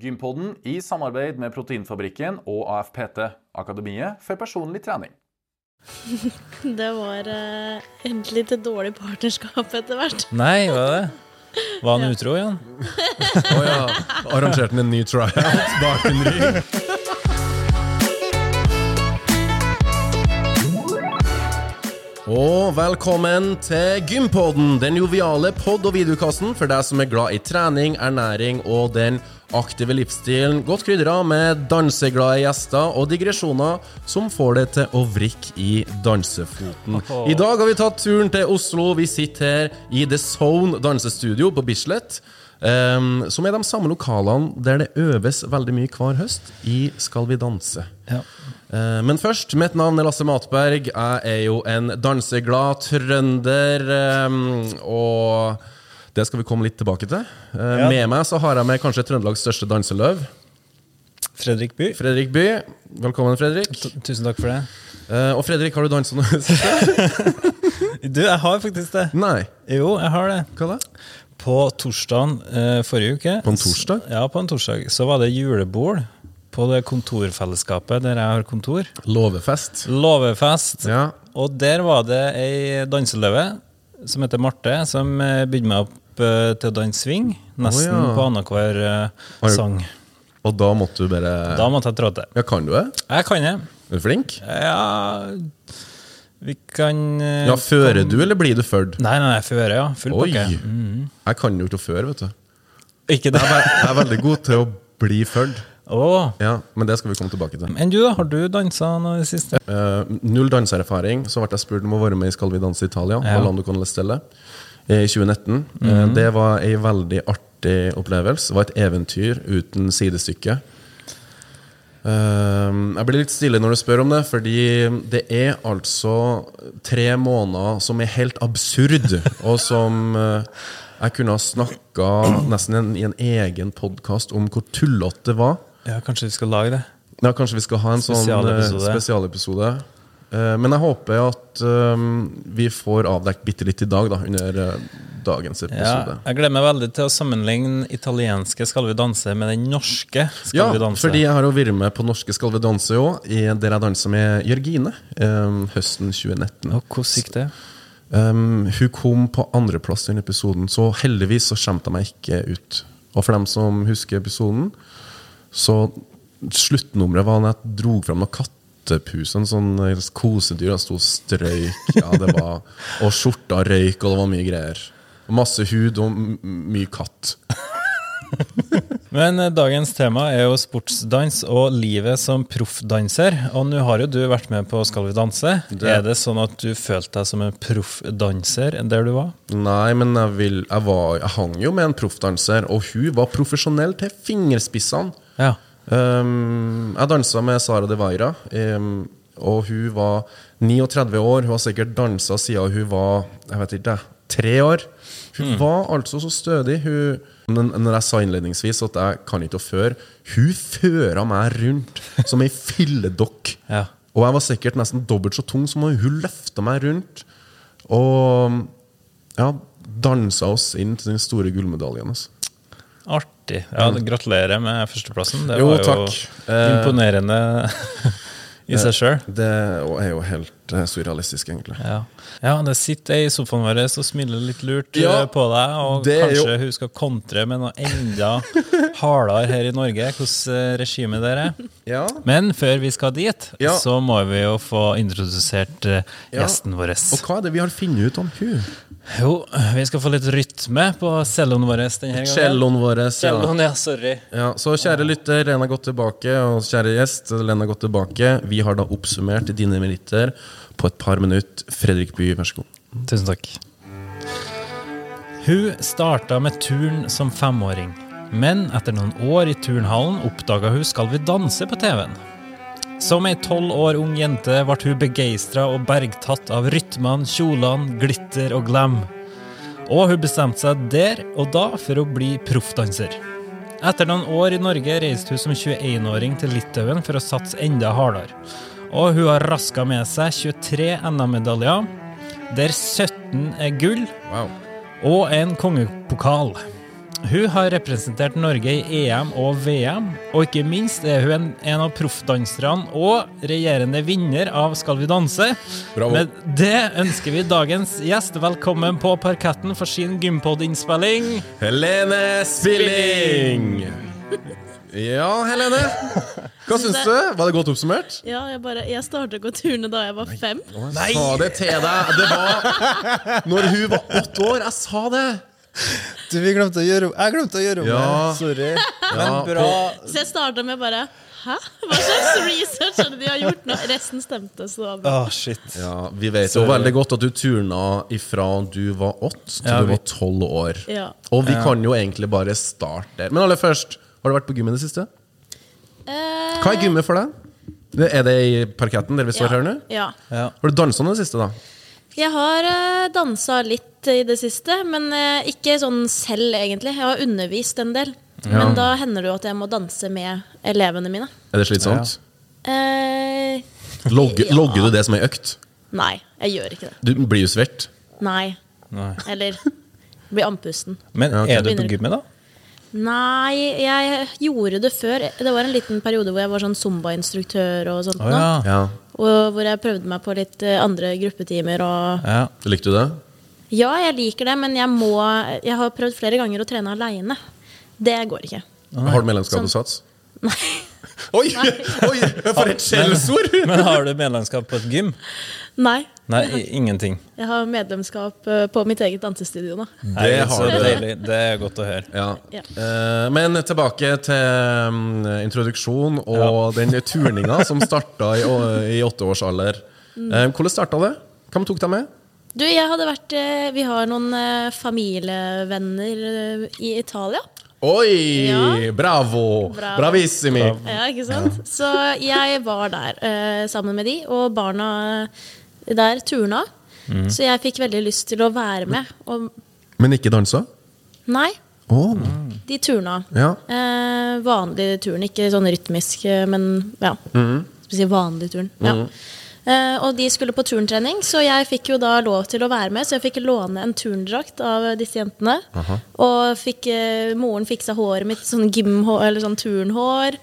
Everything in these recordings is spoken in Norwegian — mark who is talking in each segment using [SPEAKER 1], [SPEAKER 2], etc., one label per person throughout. [SPEAKER 1] Gympodden i samarbeid med Proteinfabrikken og AFPT, Akademiet for personlig trening.
[SPEAKER 2] Det var eh, endelig til dårlig partnerskap etter hvert.
[SPEAKER 3] Nei, hva er det? Var han utro, Jan?
[SPEAKER 4] Å ja. Arrangerte han en ny tryout bak en rygg? Og velkommen til Gympodden, den joviale pod- og videokassen for deg som er glad i trening, ernæring og den aktive livsstilen. Godt krydra med danseglade gjester og digresjoner som får det til å vrikke i dansefoten. I dag har vi tatt turen til Oslo. Vi sitter her i The Zone dansestudio på Bislett. Um, som er de samme lokalene der det øves veldig mye hver høst i Skal vi danse.
[SPEAKER 3] Ja.
[SPEAKER 4] Eh, Men først, mitt navn er Lasse Matberg. Jeg er jo en danseglad trønder. eh, Og det skal vi komme litt tilbake til. Eh,
[SPEAKER 3] Ja.
[SPEAKER 4] Med meg så har jeg med kanskje Trøndelags største danseløv,
[SPEAKER 3] Fredrik By.
[SPEAKER 4] Fredrik By. Velkommen, Fredrik.
[SPEAKER 3] T- Tusen takk for det.
[SPEAKER 4] Eh, Og Fredrik, har du dansa noe?
[SPEAKER 3] Du, jeg har faktisk det.
[SPEAKER 4] Nei.
[SPEAKER 3] Jo, jeg har det.
[SPEAKER 4] Hva da?
[SPEAKER 3] På torsdagen eh, forrige uke
[SPEAKER 4] På en torsdag?
[SPEAKER 3] s- Ja, på en torsdag. Så var det julebord på det kontorfellesskapet der jeg har kontor.
[SPEAKER 4] Låvefest.
[SPEAKER 3] Låvefest.
[SPEAKER 4] Ja.
[SPEAKER 3] Og der var det ei danseløve som heter Marte, som eh, bydde meg opp eh, til å danse swing. Nesten
[SPEAKER 4] Å, ja.
[SPEAKER 3] på annenhver eh,
[SPEAKER 4] Har du-
[SPEAKER 3] sang.
[SPEAKER 4] Og da måtte du bare
[SPEAKER 3] Da måtte jeg trå til.
[SPEAKER 4] Ja, kan du det?
[SPEAKER 3] Jeg kan det.
[SPEAKER 4] Er du flink?
[SPEAKER 3] Ja Vi kan eh,
[SPEAKER 4] Ja, Fører du, eller blir du ført?
[SPEAKER 3] Nei, nei, nei, føre, ja. Full
[SPEAKER 4] Oi!
[SPEAKER 3] pakke. Mm.
[SPEAKER 4] Jeg kan jo ikke å føre, vet du.
[SPEAKER 3] Ikke det.
[SPEAKER 4] Mm-hmm. Jeg er- jeg er veldig god til å bli ført.
[SPEAKER 3] Åh.
[SPEAKER 4] Ja, men det skal vi komme tilbake til.
[SPEAKER 3] Men du, da? Har du dansa noe i det siste?
[SPEAKER 4] Eh, null danseerfaring. Så ble jeg spurt om å være med i Skal vi danse Italia.
[SPEAKER 3] Ja.
[SPEAKER 4] Orlando Con Lestelle I 2019. Eh, det var ei veldig artig opplevelse. Det var et eventyr uten sidestykke. Eh, jeg blir litt stille når du spør om det, fordi det er altså tre måneder som er helt absurd, og som eh, jeg kunne ha snakka nesten en, i en egen podkast om hvor tullete det var.
[SPEAKER 3] Ja, kanskje vi skal lage det?
[SPEAKER 4] Ja, kanskje vi skal ha en sånn
[SPEAKER 3] Spesialepisode.
[SPEAKER 4] eh, spesialepisode. Eh, Men jeg håper at eh, vi får avdekt bitte litt i dag, da, under eh, dagens
[SPEAKER 3] Ja,
[SPEAKER 4] episode.
[SPEAKER 3] jeg gleder meg veldig til å sammenligne italienske Skal vi danse med den norske Skal
[SPEAKER 4] Ja,
[SPEAKER 3] vi danse.
[SPEAKER 4] fordi jeg har jo vært med på Norske skal vi danse òg, der jeg dansa med Jørgine eh, høsten 2019.
[SPEAKER 3] Og hvordan gikk det?
[SPEAKER 4] Um, hun kom på andreplass i den episoden, så heldigvis så skjemte jeg meg ikke ut. Og for dem som husker episoden, så sluttnummeret var når jeg dro fram noen kattepus, en sånn eh, kosedyr, han sto og strøyk, ja, det var, og skjorta røyk, og det var mye greier. Og masse hud og m- mye katt.
[SPEAKER 3] Men eh, dagens tema er jo sportsdans og livet som proffdanser. Og nå har jo du vært med på Skal vi danse.
[SPEAKER 4] Det-
[SPEAKER 3] Er det sånn at du følte deg som en proffdanser der du var?
[SPEAKER 4] Nei, men jeg, vil, jeg, var, jeg hang jo med en proffdanser, og hun var profesjonell til fingerspissene.
[SPEAKER 3] Ja.
[SPEAKER 4] Um, jeg dansa med Sara De Vaira, um, og hun var 39 år. Hun har sikkert dansa siden hun var jeg vet ikke, tre år. Hun var altså så stødig. Hun, men når jeg sa innledningsvis at jeg kan ikke å føre, hun føra meg rundt som ei filledokk.
[SPEAKER 3] Ja.
[SPEAKER 4] Og jeg var sikkert nesten dobbelt så tung som hun. Hun løfta meg rundt. Og ja, dansa oss inn til den store gullmedaljen. Altså.
[SPEAKER 3] Artig. Ja, gratulerer med førsteplassen. Det
[SPEAKER 4] Mm. Jo,
[SPEAKER 3] var jo
[SPEAKER 4] takk. Eh,
[SPEAKER 3] imponerende i seg sjøl.
[SPEAKER 4] Det er jo helt eh, surrealistisk, egentlig.
[SPEAKER 3] Ja. ja, det sitter ei i sofaen vår og smiler litt lurt
[SPEAKER 4] Ja,
[SPEAKER 3] eh, på deg, og
[SPEAKER 4] det er jo-
[SPEAKER 3] kanskje hun skal kontre med noe enda hardere her i Norge, hvordan eh, regimet der er.
[SPEAKER 4] Ja.
[SPEAKER 3] Men før vi skal dit,
[SPEAKER 4] Ja.
[SPEAKER 3] så må vi jo få introdusert eh,
[SPEAKER 4] Ja.
[SPEAKER 3] gjesten vår.
[SPEAKER 4] Og hva er det vi har funnet ut om hun?
[SPEAKER 3] Jo, vi skal få litt rytme på celloen vår denne gangen.
[SPEAKER 4] Celloen vår. Ja.
[SPEAKER 3] Celloen, ja, sorry.
[SPEAKER 4] Ja, så kjære lytter, Lena har gått tilbake, og kjære gjest, Lena har gått tilbake. Vi har da oppsummert dine meritter på et par minutter. Fredrik By, vær så god.
[SPEAKER 3] Tusen takk. Hun starta med turn som femåring, men etter noen år i turnhallen oppdaga hun Skal vi danse på TV-en. Som ei tolv år ung jente ble hun begeistra og bergtatt av rytmene, kjolene, glitter og glam. Og hun bestemte seg der og da for å bli proffdanser. Etter noen år i Norge reiste hun som 21-åring til Litauen for å satse enda hardere. Og hun har raska med seg 23 NM-medaljer, der 17 er gull
[SPEAKER 4] Wow.
[SPEAKER 3] og en kongepokal. Hun har representert Norge i EM og VM, og ikke minst er hun en, en av proffdanserne og regjerende vinner av Skal vi danse.
[SPEAKER 4] Bravo.
[SPEAKER 3] Med det ønsker vi dagens gjest velkommen på parketten for sin Gympod-innspilling.
[SPEAKER 4] Helene Spilling! Ja, Helene. Hva syns du? Var det godt oppsummert?
[SPEAKER 2] Ja, jeg, bare, jeg startet å gå turene da jeg var fem.
[SPEAKER 4] Nei! Sa det til deg. Det var når hun var åtte år. Jeg sa det.
[SPEAKER 5] Du, vi glemte å gjøre Jeg glemte å gjøre om
[SPEAKER 4] Ja.
[SPEAKER 5] det. Sorry. Men
[SPEAKER 4] Ja,
[SPEAKER 5] bra.
[SPEAKER 2] Så jeg startet med bare Hæ? Hva slags research er det de har gjort nå? Resten stemte, så det var bra.
[SPEAKER 5] Å, Ah, shit.
[SPEAKER 4] Ja, Vi vet jo veldig godt at du turna ifra du var åtte til
[SPEAKER 3] Ja,
[SPEAKER 4] du
[SPEAKER 3] vi-
[SPEAKER 4] var tolv år.
[SPEAKER 2] Ja.
[SPEAKER 4] Og vi kan jo egentlig bare starte der. Men aller først, har du vært på gym i det siste?
[SPEAKER 2] Eh,
[SPEAKER 4] Hva er gymmet for deg? Det- Er det i parketten der vi står her nå?
[SPEAKER 2] Ja.
[SPEAKER 5] Ja.
[SPEAKER 4] Har du dansa noe i det siste, da?
[SPEAKER 2] Jeg har uh, dansa litt i det siste, men eh, ikke sånn selv, egentlig. Jeg har undervist en del. Men da hender det jo at jeg må danse med elevene mine.
[SPEAKER 4] Er det slitsomt?
[SPEAKER 2] Eh,
[SPEAKER 4] Logger, logger du det som ei økt?
[SPEAKER 2] nei, jeg gjør ikke det.
[SPEAKER 4] Du blir jo svett.
[SPEAKER 2] Nei. Eller blir andpusten.
[SPEAKER 3] Men
[SPEAKER 4] Ja, ok.
[SPEAKER 3] er du på gymmet, da?
[SPEAKER 2] Nei, jeg gjorde det før. Det var en liten periode hvor jeg var sånn zumba-instruktør og sånt.
[SPEAKER 3] Å ja.
[SPEAKER 2] nå.
[SPEAKER 4] Ja.
[SPEAKER 2] Og hvor jeg prøvde meg på litt eh, andre gruppetimer og
[SPEAKER 3] ja.
[SPEAKER 4] Likte du det?
[SPEAKER 2] Ja, jeg liker det, men jeg må Jeg har prøvd flere ganger å trene aleine. Det går ikke.
[SPEAKER 4] Har du medlemskap hos Sats? Oi! Oi, For et skjellsord!
[SPEAKER 3] Men har du medlemskap på et gym?
[SPEAKER 2] Nei.
[SPEAKER 3] Nei, i- ingenting.
[SPEAKER 2] Jeg har medlemskap eh, på mitt eget dansestudio nå.
[SPEAKER 3] Nei,
[SPEAKER 4] har
[SPEAKER 3] så
[SPEAKER 4] du.
[SPEAKER 3] deilig. Det er godt å høre.
[SPEAKER 4] Ja.
[SPEAKER 2] Ja.
[SPEAKER 4] Eh, Men tilbake til mm, introduksjon og den turninga som starta i, i åtteårsalder.
[SPEAKER 2] Mm.
[SPEAKER 4] Eh, Hvordan starta det? Hvem tok deg med?
[SPEAKER 2] Du, jeg hadde vært eh, Vi har noen eh, familievenner eh, i Italia.
[SPEAKER 4] Oi!
[SPEAKER 2] Ja.
[SPEAKER 4] Bravo!
[SPEAKER 2] Bravo.
[SPEAKER 4] Bravissimi!
[SPEAKER 2] Ja, ikke sant? Så jeg var der eh, sammen med de, og barna der turna. Så jeg fikk veldig lyst til å være med. Og
[SPEAKER 4] Men ikke dansa?
[SPEAKER 2] nei,
[SPEAKER 4] Oh.
[SPEAKER 2] de turna.
[SPEAKER 4] Ja.
[SPEAKER 2] Eh, vanlig turn, ikke sånn rytmisk, eh, men ja. Skal vi si vanlig turn. Ja. Eh, og de skulle på turntrening, så jeg fikk jo da lov til å være med. Så jeg fikk låne en turndrakt av disse jentene. Og fikk, eh, moren fiksa håret mitt, sånn gymhår, eller sånn turnhår.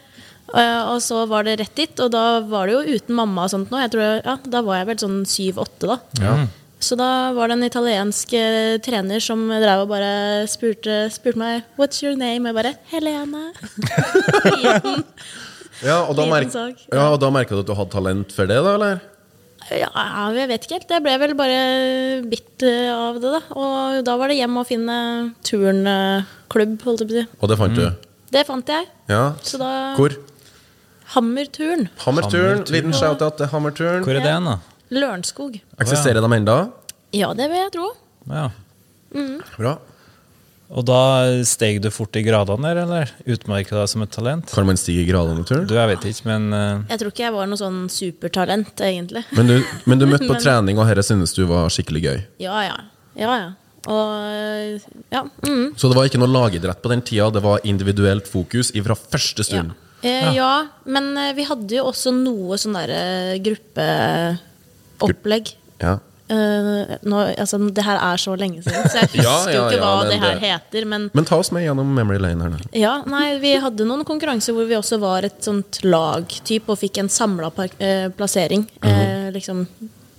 [SPEAKER 2] Eh, og så var det rett dit, og da var det jo uten mamma og sånt nå. Jeg tror, jeg- ja, da var jeg vel sånn syv-åtte, da. Så da var det en italiensk eh, trener som drev og bare spurte, spurte meg What's your name? Jeg bare Helene. Liten.
[SPEAKER 4] Ja, og da,
[SPEAKER 2] Liten
[SPEAKER 4] merk
[SPEAKER 2] sak.
[SPEAKER 4] ja, og da merka du at du hadde talent for det, da? eller?
[SPEAKER 2] Ja, jeg vet ikke helt. Jeg ble vel bare bitt eh, av det, da. Og da var det hjem å finne turnklubb, holdt jeg på å si.
[SPEAKER 4] Og det fant du?
[SPEAKER 2] Det fant jeg.
[SPEAKER 4] Ja.
[SPEAKER 2] Så da-
[SPEAKER 4] Hvor?
[SPEAKER 2] Hammerturn.
[SPEAKER 4] Hammerturn.
[SPEAKER 3] Hammerturn.
[SPEAKER 4] Liten shout-out til Hammerturn.
[SPEAKER 3] Hvor er det hen, da?
[SPEAKER 2] Lørenskog.
[SPEAKER 4] Eksisterer de ennå?
[SPEAKER 2] Ja, det vil jeg tro.
[SPEAKER 3] Ja.
[SPEAKER 4] Bra.
[SPEAKER 3] Og da steg du fort i gradene der, eller? Utmerka deg som et talent?
[SPEAKER 4] Kan man stige i gradene i turn?
[SPEAKER 3] Du, jeg vet ikke, men eh,
[SPEAKER 2] Jeg tror ikke jeg var noe sånn supertalent, egentlig.
[SPEAKER 4] Men du, men du møtte på
[SPEAKER 2] Men-
[SPEAKER 4] trening, og dette synes du var skikkelig gøy.
[SPEAKER 2] Ja, ja. Ja, ja. Og ja. Mm.
[SPEAKER 4] Så det var ikke noe lagidrett på den tida, det var individuelt fokus fra første
[SPEAKER 2] Ja.
[SPEAKER 4] stund.
[SPEAKER 2] Eh, ja, men eh, vi hadde jo også noe sånn derre gruppeopplegg.
[SPEAKER 4] Ja.
[SPEAKER 2] Eh, nå, altså, det her er så lenge siden, så jeg husker jo
[SPEAKER 4] Ja, ja,
[SPEAKER 2] ikke
[SPEAKER 4] ja,
[SPEAKER 2] hva
[SPEAKER 4] men
[SPEAKER 2] det her
[SPEAKER 4] det-
[SPEAKER 2] heter. Men
[SPEAKER 4] Men ta oss med gjennom memory lane her nå.
[SPEAKER 2] ja, nei, vi hadde noen konkurranser hvor vi også var et sånt lagtyp og fikk en samla eh, plassering. eh, liksom.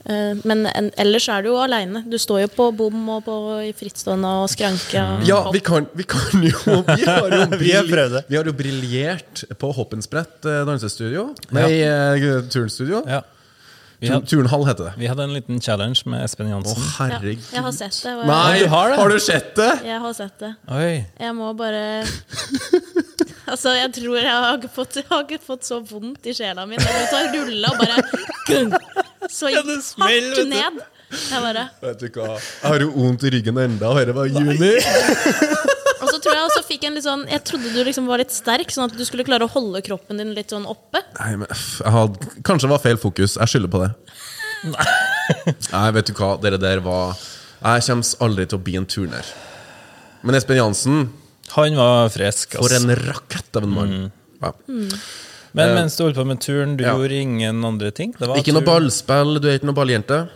[SPEAKER 2] Eh, men en, ellers er du jo aleine. Du står jo på bom og på i frittstående og skranke. Og
[SPEAKER 4] Ja, vi kan, vi kan jo Vi har jo,
[SPEAKER 5] Vi har prøvd det.
[SPEAKER 4] vi har jo briljert på hoppensbrett eh, dansestudio. Nei, eh, turnstudio.
[SPEAKER 3] ja. Vi
[SPEAKER 4] Tur-
[SPEAKER 3] hadde,
[SPEAKER 4] Turnhall heter det.
[SPEAKER 3] vi hadde en liten challenge med Espen
[SPEAKER 4] Å,
[SPEAKER 3] Jansen.
[SPEAKER 2] ja,
[SPEAKER 4] herregud.
[SPEAKER 2] jeg har sett det. Og jeg,
[SPEAKER 3] Ja,
[SPEAKER 4] Nei,
[SPEAKER 3] du har det.
[SPEAKER 4] har du sett det?
[SPEAKER 2] jeg har sett det.
[SPEAKER 3] Oi.
[SPEAKER 2] Jeg må bare Altså, jeg tror jeg har ikke fått, jeg har ikke fått så vondt i sjela mi. Jeg måtte ha rulla og bare gung, Så gikk
[SPEAKER 3] det smell,
[SPEAKER 2] hardt
[SPEAKER 3] vet du.
[SPEAKER 2] ned. Jeg bare,
[SPEAKER 4] Vet du hva, jeg har jo vondt i ryggen enda, og dette var i juni.
[SPEAKER 2] og så tror jeg også fikk en litt sånn Jeg trodde du liksom var litt sterk, sånn at du skulle klare å holde kroppen din litt sånn oppe.
[SPEAKER 4] Nei, men f- jeg hadde, Kanskje det var feil fokus. Jeg skylder på det. Nei, vet du hva, dere der var Jeg kommer aldri til å bli en turner. Men Espen Jansen,
[SPEAKER 3] Han var frisk.
[SPEAKER 4] for
[SPEAKER 3] ass.
[SPEAKER 4] en rakett av en mann. Ja.
[SPEAKER 3] Men mens du holdt på med turen, du
[SPEAKER 4] Ja.
[SPEAKER 3] gjorde ingen andre ting? Det var
[SPEAKER 4] Ikke noe
[SPEAKER 3] turen.
[SPEAKER 4] ballspill, du er ikke noe balljente.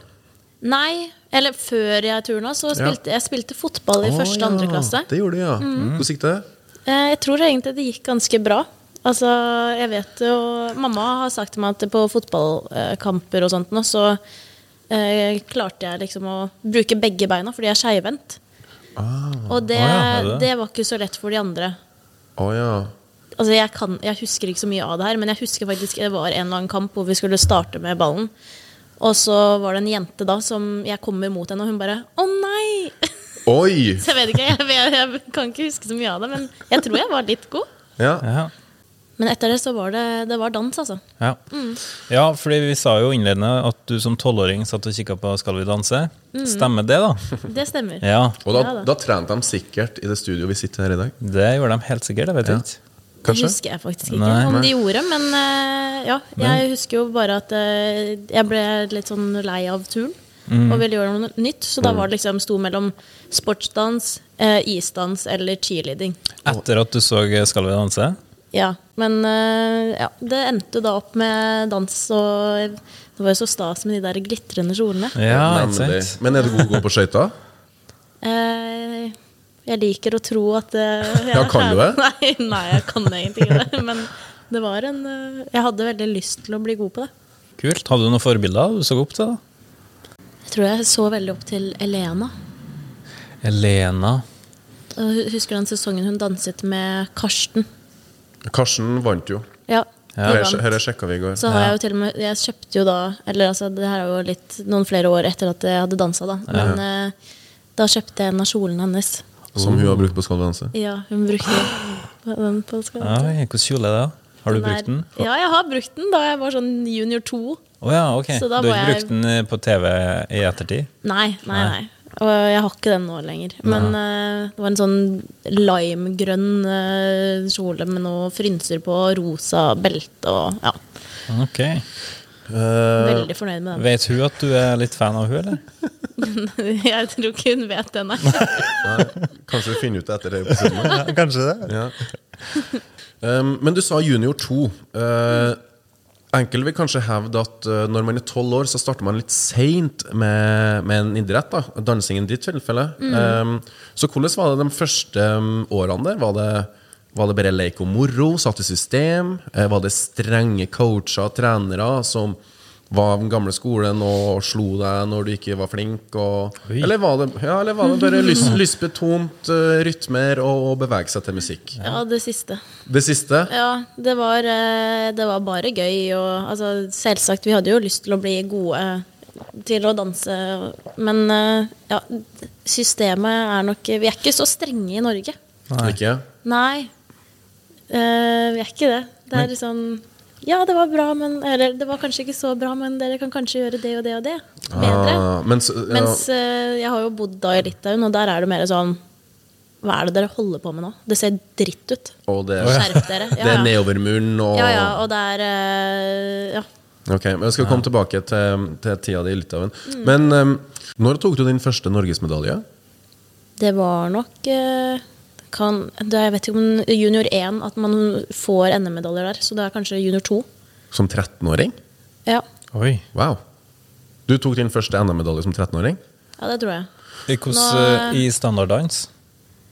[SPEAKER 2] Nei, Eller før jeg turna, så spilte jeg spilte fotball i første og
[SPEAKER 4] Å,
[SPEAKER 2] andre
[SPEAKER 4] ja.
[SPEAKER 2] klasse. Mm.
[SPEAKER 4] Det gjorde du, ja. Hvordan gikk det?
[SPEAKER 2] Eh, Jeg tror egentlig det gikk ganske bra. Altså, jeg vet jo Mamma har sagt til meg at på fotballkamper og sånt nå, så eh, klarte jeg liksom å bruke begge beina, fordi jeg er skeivhendt. og det,
[SPEAKER 3] Ah, ja, er
[SPEAKER 2] det.
[SPEAKER 3] det?
[SPEAKER 2] var ikke så lett for de andre.
[SPEAKER 4] Å ja.
[SPEAKER 2] Altså, jeg, kan, jeg husker ikke så mye av det her, men jeg husker faktisk det var en eller annen kamp hvor vi skulle starte med ballen. Og så var det en jente da som jeg kommer mot henne, og hun bare 'Å nei!'
[SPEAKER 4] Oi!
[SPEAKER 2] Så jeg vet ikke, jeg, jeg, jeg kan ikke huske så mye av det, men jeg tror jeg var litt god.
[SPEAKER 4] Ja.
[SPEAKER 3] Ja.
[SPEAKER 2] Men etter det så var det, det var dans, altså.
[SPEAKER 3] Ja. ja, fordi vi sa jo innledende at du som tolvåring satt og kikka på Skal vi danse.
[SPEAKER 2] Mm.
[SPEAKER 3] Stemmer det, da?
[SPEAKER 2] Det stemmer.
[SPEAKER 3] Ja,
[SPEAKER 4] Og da,
[SPEAKER 2] Ja da.
[SPEAKER 4] da trente de sikkert i det studio vi sitter her i dag.
[SPEAKER 3] det gjorde de helt sikkert. Jeg vet ikke.
[SPEAKER 2] det
[SPEAKER 4] Kanskje?
[SPEAKER 2] husker jeg faktisk ikke
[SPEAKER 3] Nei.
[SPEAKER 2] om
[SPEAKER 4] Nei.
[SPEAKER 2] de gjorde, men eh, ja. Jeg husker jo bare at eh, jeg ble litt sånn lei av turen. Og ville gjøre noe nytt, så da var det liksom sto mellom sportsdans, eh, isdans eller cheerleading.
[SPEAKER 3] Etter at du så Skal vi danse?
[SPEAKER 2] Ja, Men eh, ja, det endte da opp med dans, og det var jo så stas med de der glitrende kjolene.
[SPEAKER 3] Ja, ikke
[SPEAKER 4] Nemlig.
[SPEAKER 3] sant?
[SPEAKER 4] Men er du god til å gå på skøyter?
[SPEAKER 2] Eh, jeg liker å tro at eh, jeg
[SPEAKER 4] Ja, kan du det?
[SPEAKER 2] Nei, nei, jeg kan egentlig ikke det. Men det var en eh, Jeg hadde veldig lyst til å bli god på det.
[SPEAKER 3] Kult. Hadde du noen forbilder du så opp til? da?
[SPEAKER 2] Jeg tror jeg så veldig opp til Elena.
[SPEAKER 3] Elena.
[SPEAKER 2] Og hu- Husker du den sesongen hun danset med Karsten?
[SPEAKER 4] Karsten vant jo.
[SPEAKER 2] Ja.
[SPEAKER 3] Ja.
[SPEAKER 2] de
[SPEAKER 4] Her,
[SPEAKER 2] vant.
[SPEAKER 4] her sjekka vi i går.
[SPEAKER 2] Så har jeg jo til og med Jeg kjøpte jo da Eller altså, det her er jo litt noen flere år etter at jeg hadde dansa, da. Men eh, da kjøpte jeg en av kjolene hennes.
[SPEAKER 4] Som hun har brukt på Skal vi danse.
[SPEAKER 2] Ja, hun brukte den på skolen.
[SPEAKER 3] Oi, Hvilken kjole er det? da? Har du
[SPEAKER 2] er-
[SPEAKER 3] brukt den?
[SPEAKER 2] Ja, jeg har brukt den da jeg var sånn junior 2.
[SPEAKER 3] Å ja, ok.
[SPEAKER 2] Så
[SPEAKER 3] Du
[SPEAKER 2] da
[SPEAKER 3] har ikke
[SPEAKER 2] var jeg-
[SPEAKER 3] brukt den eh, på TV i ettertid?
[SPEAKER 2] Nei, nei, nei. Og jeg har ikke den nå lenger. Men eh, det var en sånn limegrønn eh, kjole med noe frynser på, rosa belte og ja.
[SPEAKER 3] Ok.
[SPEAKER 2] Veldig fornøyd med
[SPEAKER 3] Vet hun at du er litt fan av hun, eller?
[SPEAKER 2] den. jeg tror ikke hun vet det, nei.
[SPEAKER 4] Kanskje vi finner ut det etter det episoden.
[SPEAKER 5] Ja, kanskje det.
[SPEAKER 4] Um, men du sa junior 2. Uh, enkel vil kanskje hevde at uh, når man er tolv år, så starter man litt seint med, med en idrett. da Dansing i ditt tilfelle. Um, så hvordan var det de første um, årene der? Var det, var det bare leik og moro? Satt i system? Eh, var det strenge coacher og trenere som var den gamle skolen og slo deg når du ikke var flink? Og,
[SPEAKER 3] Oi.
[SPEAKER 4] eller, var det, ja, eller var det bare lys, lystbetont uh, rytmer og, og bevege seg til musikk?
[SPEAKER 2] Ja, det siste.
[SPEAKER 4] Det siste?
[SPEAKER 2] Ja, det var, eh, det var bare gøy. Og, altså, selvsagt, vi hadde jo lyst til å bli gode til å danse. Men eh, ja, systemet er nok Vi er ikke så strenge i Norge.
[SPEAKER 4] Ikke?
[SPEAKER 2] Nei, Eh, vi er ikke det. Det er litt sånn Ja, det var bra, men Eller det var kanskje ikke så bra, men dere kan kanskje gjøre det og det og det. Bedre.
[SPEAKER 4] Ah, mens, ja,
[SPEAKER 2] Mens eh, jeg har jo bodd da i Litauen, og der er det mer sånn Hva er det dere holder på med nå? Det ser dritt ut.
[SPEAKER 4] og det,
[SPEAKER 2] Skjerp dere.
[SPEAKER 4] det er
[SPEAKER 2] Ja, ja.
[SPEAKER 4] nedover muren og
[SPEAKER 2] Ja, ja, og det er eh, Ja.
[SPEAKER 4] Ok, men Jeg skal komme tilbake til, til tida di i Litauen.
[SPEAKER 2] Mm.
[SPEAKER 4] Men um, når tok du din første norgesmedalje?
[SPEAKER 2] Det var nok eh, kan, det, er- Jeg vet ikke om junior 1 at man får NM-medaljer der, så det er kanskje junior 2.
[SPEAKER 4] Som 13-åring?
[SPEAKER 2] Ja.
[SPEAKER 3] Oi.
[SPEAKER 4] Wow. Du tok din første NM-medalje som 13-åring?
[SPEAKER 2] ja, det tror jeg.
[SPEAKER 3] I hvordan- eh,
[SPEAKER 2] Nå-
[SPEAKER 3] I standarddans?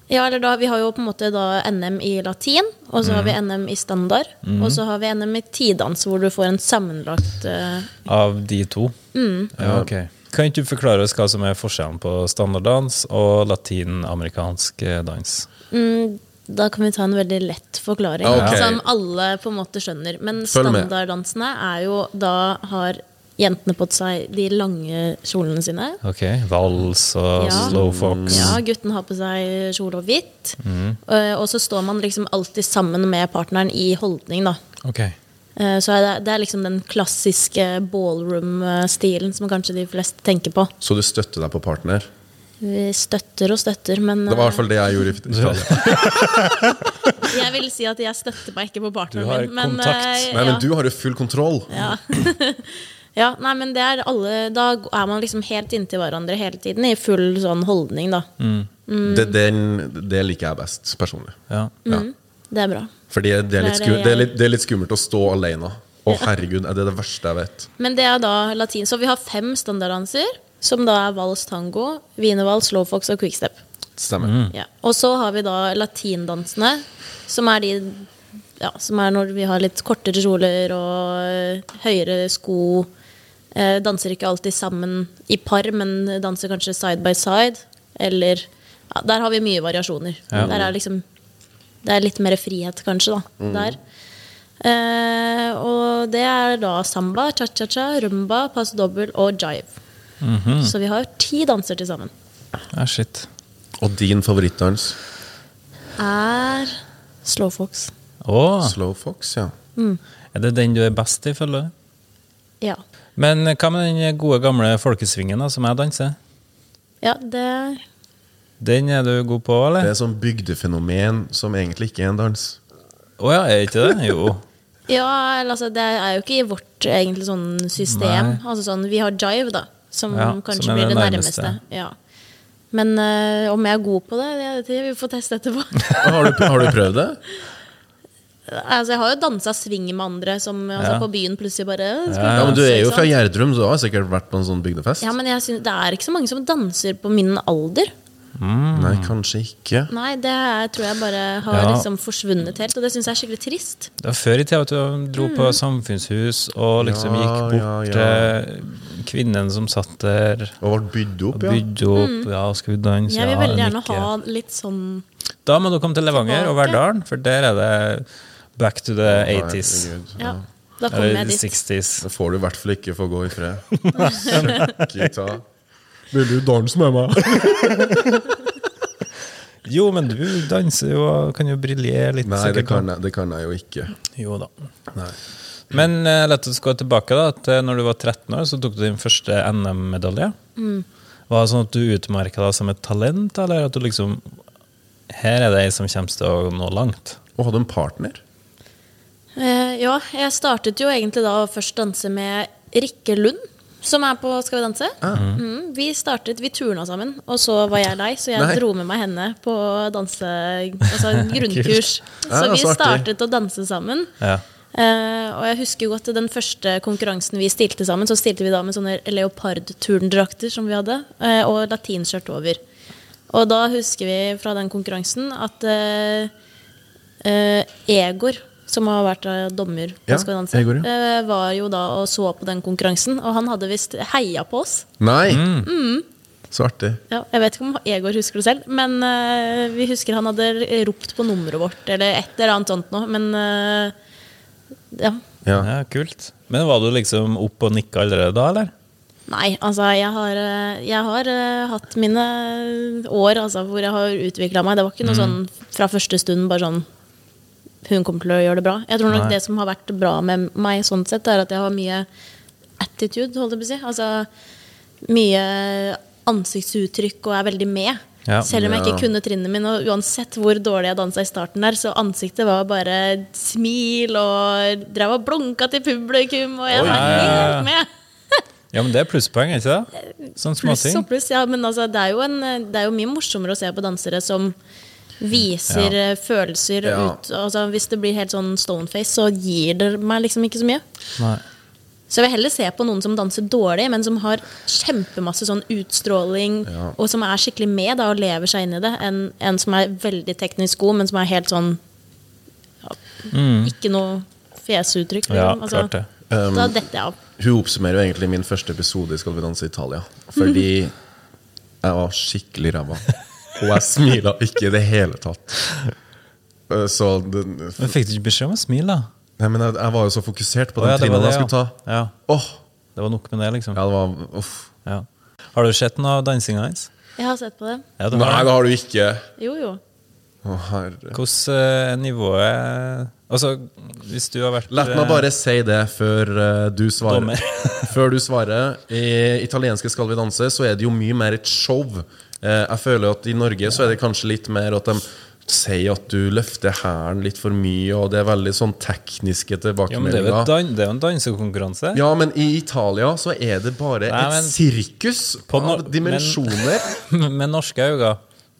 [SPEAKER 2] Ja, eller da, Vi har jo på en måte da NM i latin, og så har vi
[SPEAKER 4] Mm.
[SPEAKER 2] NM i standard. Og så har vi NM i tidans, hvor du får en sammenlagt eh,
[SPEAKER 3] Av de to?
[SPEAKER 2] Mm.
[SPEAKER 3] Ja, ok. Kan ikke du forklare oss hva som er forskjellen på standarddans og latinamerikansk eh, dans?
[SPEAKER 2] mm, Da kan vi ta en veldig lett forklaring,
[SPEAKER 4] Ja, ok.
[SPEAKER 2] som alle på en måte skjønner. Men
[SPEAKER 4] Følg med.
[SPEAKER 2] standarddansene er jo Da har jentene på seg de lange kjolene sine.
[SPEAKER 3] Ok, Vals og
[SPEAKER 2] Ja.
[SPEAKER 3] slow
[SPEAKER 4] Mm.
[SPEAKER 3] fox.
[SPEAKER 2] Ja, gutten har på seg kjole og hvitt. Eh, og så står man liksom alltid sammen med partneren i holdning, da.
[SPEAKER 3] Ok.
[SPEAKER 2] Eh, Så er det, det er liksom den klassiske ballroom-stilen som kanskje de fleste tenker på.
[SPEAKER 4] Så du støtter deg på partner?
[SPEAKER 2] Vi støtter og støtter, men
[SPEAKER 4] Det var i hvert fall det jeg gjorde. i Italia.
[SPEAKER 2] eh, jeg vil si at jeg støtter meg ikke på
[SPEAKER 3] Du har
[SPEAKER 2] partneren min. Men,
[SPEAKER 3] kontakt.
[SPEAKER 2] eh, ja.
[SPEAKER 4] Nei, men du har jo full kontroll.
[SPEAKER 2] Ja, nei, men det er alle Da er man liksom helt inntil hverandre hele tiden i full sånn holdning, da.
[SPEAKER 4] Det,
[SPEAKER 2] Mm.
[SPEAKER 4] den, det liker jeg best, personlig.
[SPEAKER 3] Ja.
[SPEAKER 4] Ja.
[SPEAKER 2] Det er bra.
[SPEAKER 4] Fordi det er, litt
[SPEAKER 2] Det er
[SPEAKER 4] sku,
[SPEAKER 2] det jeg-
[SPEAKER 4] det, er litt, det er litt skummelt å stå alene. Å, herregud, er det det verste jeg vet?
[SPEAKER 2] Men det er da latin. Så vi har fem standarddanser. som da er vals tango, wienervals, slowfox og quickstep.
[SPEAKER 4] Stemmer.
[SPEAKER 2] Ja. Og så har vi da latindansene, som er de ja, som er når vi har litt kortere kjoler og eh, høyere sko. Eh, danser ikke alltid sammen i par, men danser kanskje side by side. Eller ja, Der har vi mye variasjoner. Der er liksom Det er litt mer frihet, kanskje, da. Der. Eh, og det er da samba, cha-cha-cha, rumba, paso dobbel og jive. Så vi har ti danser til sammen.
[SPEAKER 3] Ah, shit.
[SPEAKER 4] Og din favorittdans?
[SPEAKER 2] Er slowfox.
[SPEAKER 3] Å,
[SPEAKER 4] Slow Fox, ja.
[SPEAKER 3] er det den du er best i, føler du?
[SPEAKER 2] Ja.
[SPEAKER 3] Men eh, hva med den gode gamle folkesvingen da, som jeg danser?
[SPEAKER 2] ja, det
[SPEAKER 3] Den er du god på,
[SPEAKER 4] Det
[SPEAKER 3] eller?
[SPEAKER 4] er sånn bygdefenomen som egentlig ikke er en dans.
[SPEAKER 3] Å ja, er ikke det? Jo.
[SPEAKER 2] Ja, eller altså, det er jo ikke i vårt egentlig sånn system.
[SPEAKER 3] Nei.
[SPEAKER 2] Altså sånn, Vi har jive, da, som
[SPEAKER 3] Ja,
[SPEAKER 2] kanskje
[SPEAKER 3] som er
[SPEAKER 2] blir
[SPEAKER 3] det
[SPEAKER 2] det nærmeste.
[SPEAKER 3] nærmeste.
[SPEAKER 2] Ja. Men eh, om jeg er god på det, det, det vi får teste etterpå.
[SPEAKER 4] Ah, Har du, har du prøvd det?
[SPEAKER 2] altså, Jeg har jo dansa swing med andre som altså,
[SPEAKER 3] Ja.
[SPEAKER 2] på byen plutselig bare skal vi
[SPEAKER 4] Ja, men Du
[SPEAKER 2] danse,
[SPEAKER 4] er jo
[SPEAKER 2] ikke
[SPEAKER 4] fra
[SPEAKER 2] sant?
[SPEAKER 4] Gjerdrum, så du har sikkert vært på en sånn bygdefest?
[SPEAKER 2] sånn. Ja, men jeg synes, Det er ikke så mange som danser på min alder.
[SPEAKER 4] Nei, kanskje ikke.
[SPEAKER 2] Nei, Det er, tror jeg bare har
[SPEAKER 3] Ja.
[SPEAKER 2] liksom forsvunnet helt, og det syns jeg er skikkelig trist.
[SPEAKER 3] Det var før i tida at du dro på
[SPEAKER 2] Mm.
[SPEAKER 3] samfunnshus og liksom
[SPEAKER 4] Ja,
[SPEAKER 3] gikk bort
[SPEAKER 4] ja,
[SPEAKER 3] til kvinnen som satt der
[SPEAKER 4] Og ble bydd
[SPEAKER 3] og
[SPEAKER 4] opp, ja.
[SPEAKER 3] bydde opp. Ja, skal vi danse?
[SPEAKER 2] Mm. Jeg vil
[SPEAKER 3] Ja,
[SPEAKER 2] veldig gjerne
[SPEAKER 3] nikke.
[SPEAKER 2] ha litt sånn
[SPEAKER 3] Da må du komme til Levanger og
[SPEAKER 2] Tilbake.
[SPEAKER 3] Verdalen, for der er det back to the 80s.
[SPEAKER 4] Herregud.
[SPEAKER 2] Ja, da kommer
[SPEAKER 3] Eller
[SPEAKER 2] jeg dit.
[SPEAKER 3] 60s.
[SPEAKER 4] Det får du i hvert fall ikke få gå i fred. Søkke ta. Vil du danse med meg?
[SPEAKER 3] Jo, men du danser jo og kan jo briljere litt.
[SPEAKER 4] Nei, det
[SPEAKER 3] sikkert,
[SPEAKER 4] kan jeg, det kan jeg jo ikke.
[SPEAKER 3] da. Jo da. Men eh, la oss gå tilbake da, til når du var 13 år, så tok du din første NM-medalje.
[SPEAKER 2] Mm.
[SPEAKER 3] Var det sånn at du utmerka deg som et talent, eller at du liksom Her er det ei som kommer til å nå langt.
[SPEAKER 4] Og hadde en partner.
[SPEAKER 2] Eh, ja, jeg startet jo egentlig da å først danse med Rikke Lund, som er på Skal vi danse.
[SPEAKER 4] Ah.
[SPEAKER 2] Mm, vi startet, vi turna sammen, og så var jeg lei, så jeg
[SPEAKER 4] Nei.
[SPEAKER 2] dro med meg henne på danse... Altså grunnkurs.
[SPEAKER 4] Ja,
[SPEAKER 2] så vi
[SPEAKER 4] Ah, så artig.
[SPEAKER 2] startet å danse sammen.
[SPEAKER 3] Ja.
[SPEAKER 2] Eh, og jeg husker jo godt den første konkurransen vi stilte sammen, så stilte vi da med sånne leopardturdendrakter som vi hadde, eh, og latinskjørt over. Og da husker vi fra den konkurransen at eh, eh, Egor, som har vært eh, dommer på
[SPEAKER 4] Ja,
[SPEAKER 2] Skal vi danse,
[SPEAKER 4] Egor, ja.
[SPEAKER 2] eh, var jo da og så på den konkurransen, og han hadde visst heia på oss.
[SPEAKER 4] Nei! Mm. Så artig.
[SPEAKER 2] Ja, jeg vet ikke om Egor husker det selv, men eh, vi husker han hadde ropt på nummeret vårt, eller et eller annet sånt noe, men eh, ja.
[SPEAKER 4] Ja.
[SPEAKER 3] ja, kult. Men var du liksom opp og nikka allerede da, eller?
[SPEAKER 2] Nei, altså jeg har, eh, jeg har eh, hatt mine år altså, hvor jeg har utvikla meg. Det var ikke
[SPEAKER 3] Mm.
[SPEAKER 2] noe sånn fra første stund bare sånn Hun kommer til å gjøre det bra. Jeg tror nok
[SPEAKER 3] Nei.
[SPEAKER 2] det som har vært bra med meg sånn sett, er at jeg har mye attitude, holdt jeg på å si. Altså mye ansiktsuttrykk og er veldig med.
[SPEAKER 3] Ja.
[SPEAKER 2] Selv om jeg
[SPEAKER 4] Ja.
[SPEAKER 2] ikke kunne trinnene mine, og uansett hvor dårlig jeg dansa i starten der, så ansiktet var bare smil og drev og blunka til publikum, og jeg var helt med.
[SPEAKER 3] Ja, men det er plusspoeng, er ikke det? Sånn
[SPEAKER 2] Pluss
[SPEAKER 3] småting.
[SPEAKER 2] og pluss, ja. Men altså, det, er jo en, det er jo mye morsommere å se på dansere som viser eh, følelser
[SPEAKER 4] Ja.
[SPEAKER 2] ut altså, Hvis det blir helt sånn stoneface, så gir det meg liksom ikke så mye.
[SPEAKER 3] Nei.
[SPEAKER 2] Så jeg vil heller se på noen som danser dårlig, men som har kjempemasse sånn utstråling, og som er skikkelig med da, og lever seg inn i det, enn en som er veldig teknisk god, men som er helt sånn ja, Ikke noe fjesuttrykk.
[SPEAKER 3] Mm. Ja,
[SPEAKER 2] liksom.
[SPEAKER 3] klart det. Um,
[SPEAKER 2] da detter jeg av.
[SPEAKER 4] Hun oppsummerer jo egentlig min første episode i Skal vi danse i Italia. Fordi jeg var skikkelig ræva. Og jeg smila ikke i det hele tatt. Eh, Så den,
[SPEAKER 3] Men fikk du ikke beskjed om å smile, da?
[SPEAKER 4] Nei, men jeg, jeg var jo så fokusert på
[SPEAKER 3] Å,
[SPEAKER 4] den
[SPEAKER 3] ja, det var
[SPEAKER 4] trinnene jeg
[SPEAKER 3] det,
[SPEAKER 4] skulle ta.
[SPEAKER 3] ja. Ja.
[SPEAKER 4] Åh,
[SPEAKER 3] Det var nok med det, liksom.
[SPEAKER 4] ja, det var Uff.
[SPEAKER 3] Ja. Har du sett noe av dansinga hans?
[SPEAKER 2] Jeg har sett på det.
[SPEAKER 3] Ja, det
[SPEAKER 4] Nei,
[SPEAKER 3] har
[SPEAKER 4] det har du ikke.
[SPEAKER 2] Jo, jo.
[SPEAKER 4] Å, herre.
[SPEAKER 3] Hvordan eh, nivået Altså, hvis du har vært
[SPEAKER 4] La meg bare si det før eh, du svarer.
[SPEAKER 3] Eh, Dommer.
[SPEAKER 4] før du svarer. I italienske Skal vi danse så er det jo mye mer et show. Eh, Jeg føler at i Norge så er det kanskje litt mer at de sier at du løfter hælen litt for mye, og det er veldig sånn tekniske
[SPEAKER 3] eh, ja, men det, er jo et dan
[SPEAKER 4] tilbakemeldinger.
[SPEAKER 3] det er jo en dansekonkurranse.
[SPEAKER 4] Ja, men i Italia så er det bare
[SPEAKER 3] Nei, men-
[SPEAKER 4] et sirkus
[SPEAKER 3] På no-
[SPEAKER 4] av dimensjoner.
[SPEAKER 3] med norske øyne,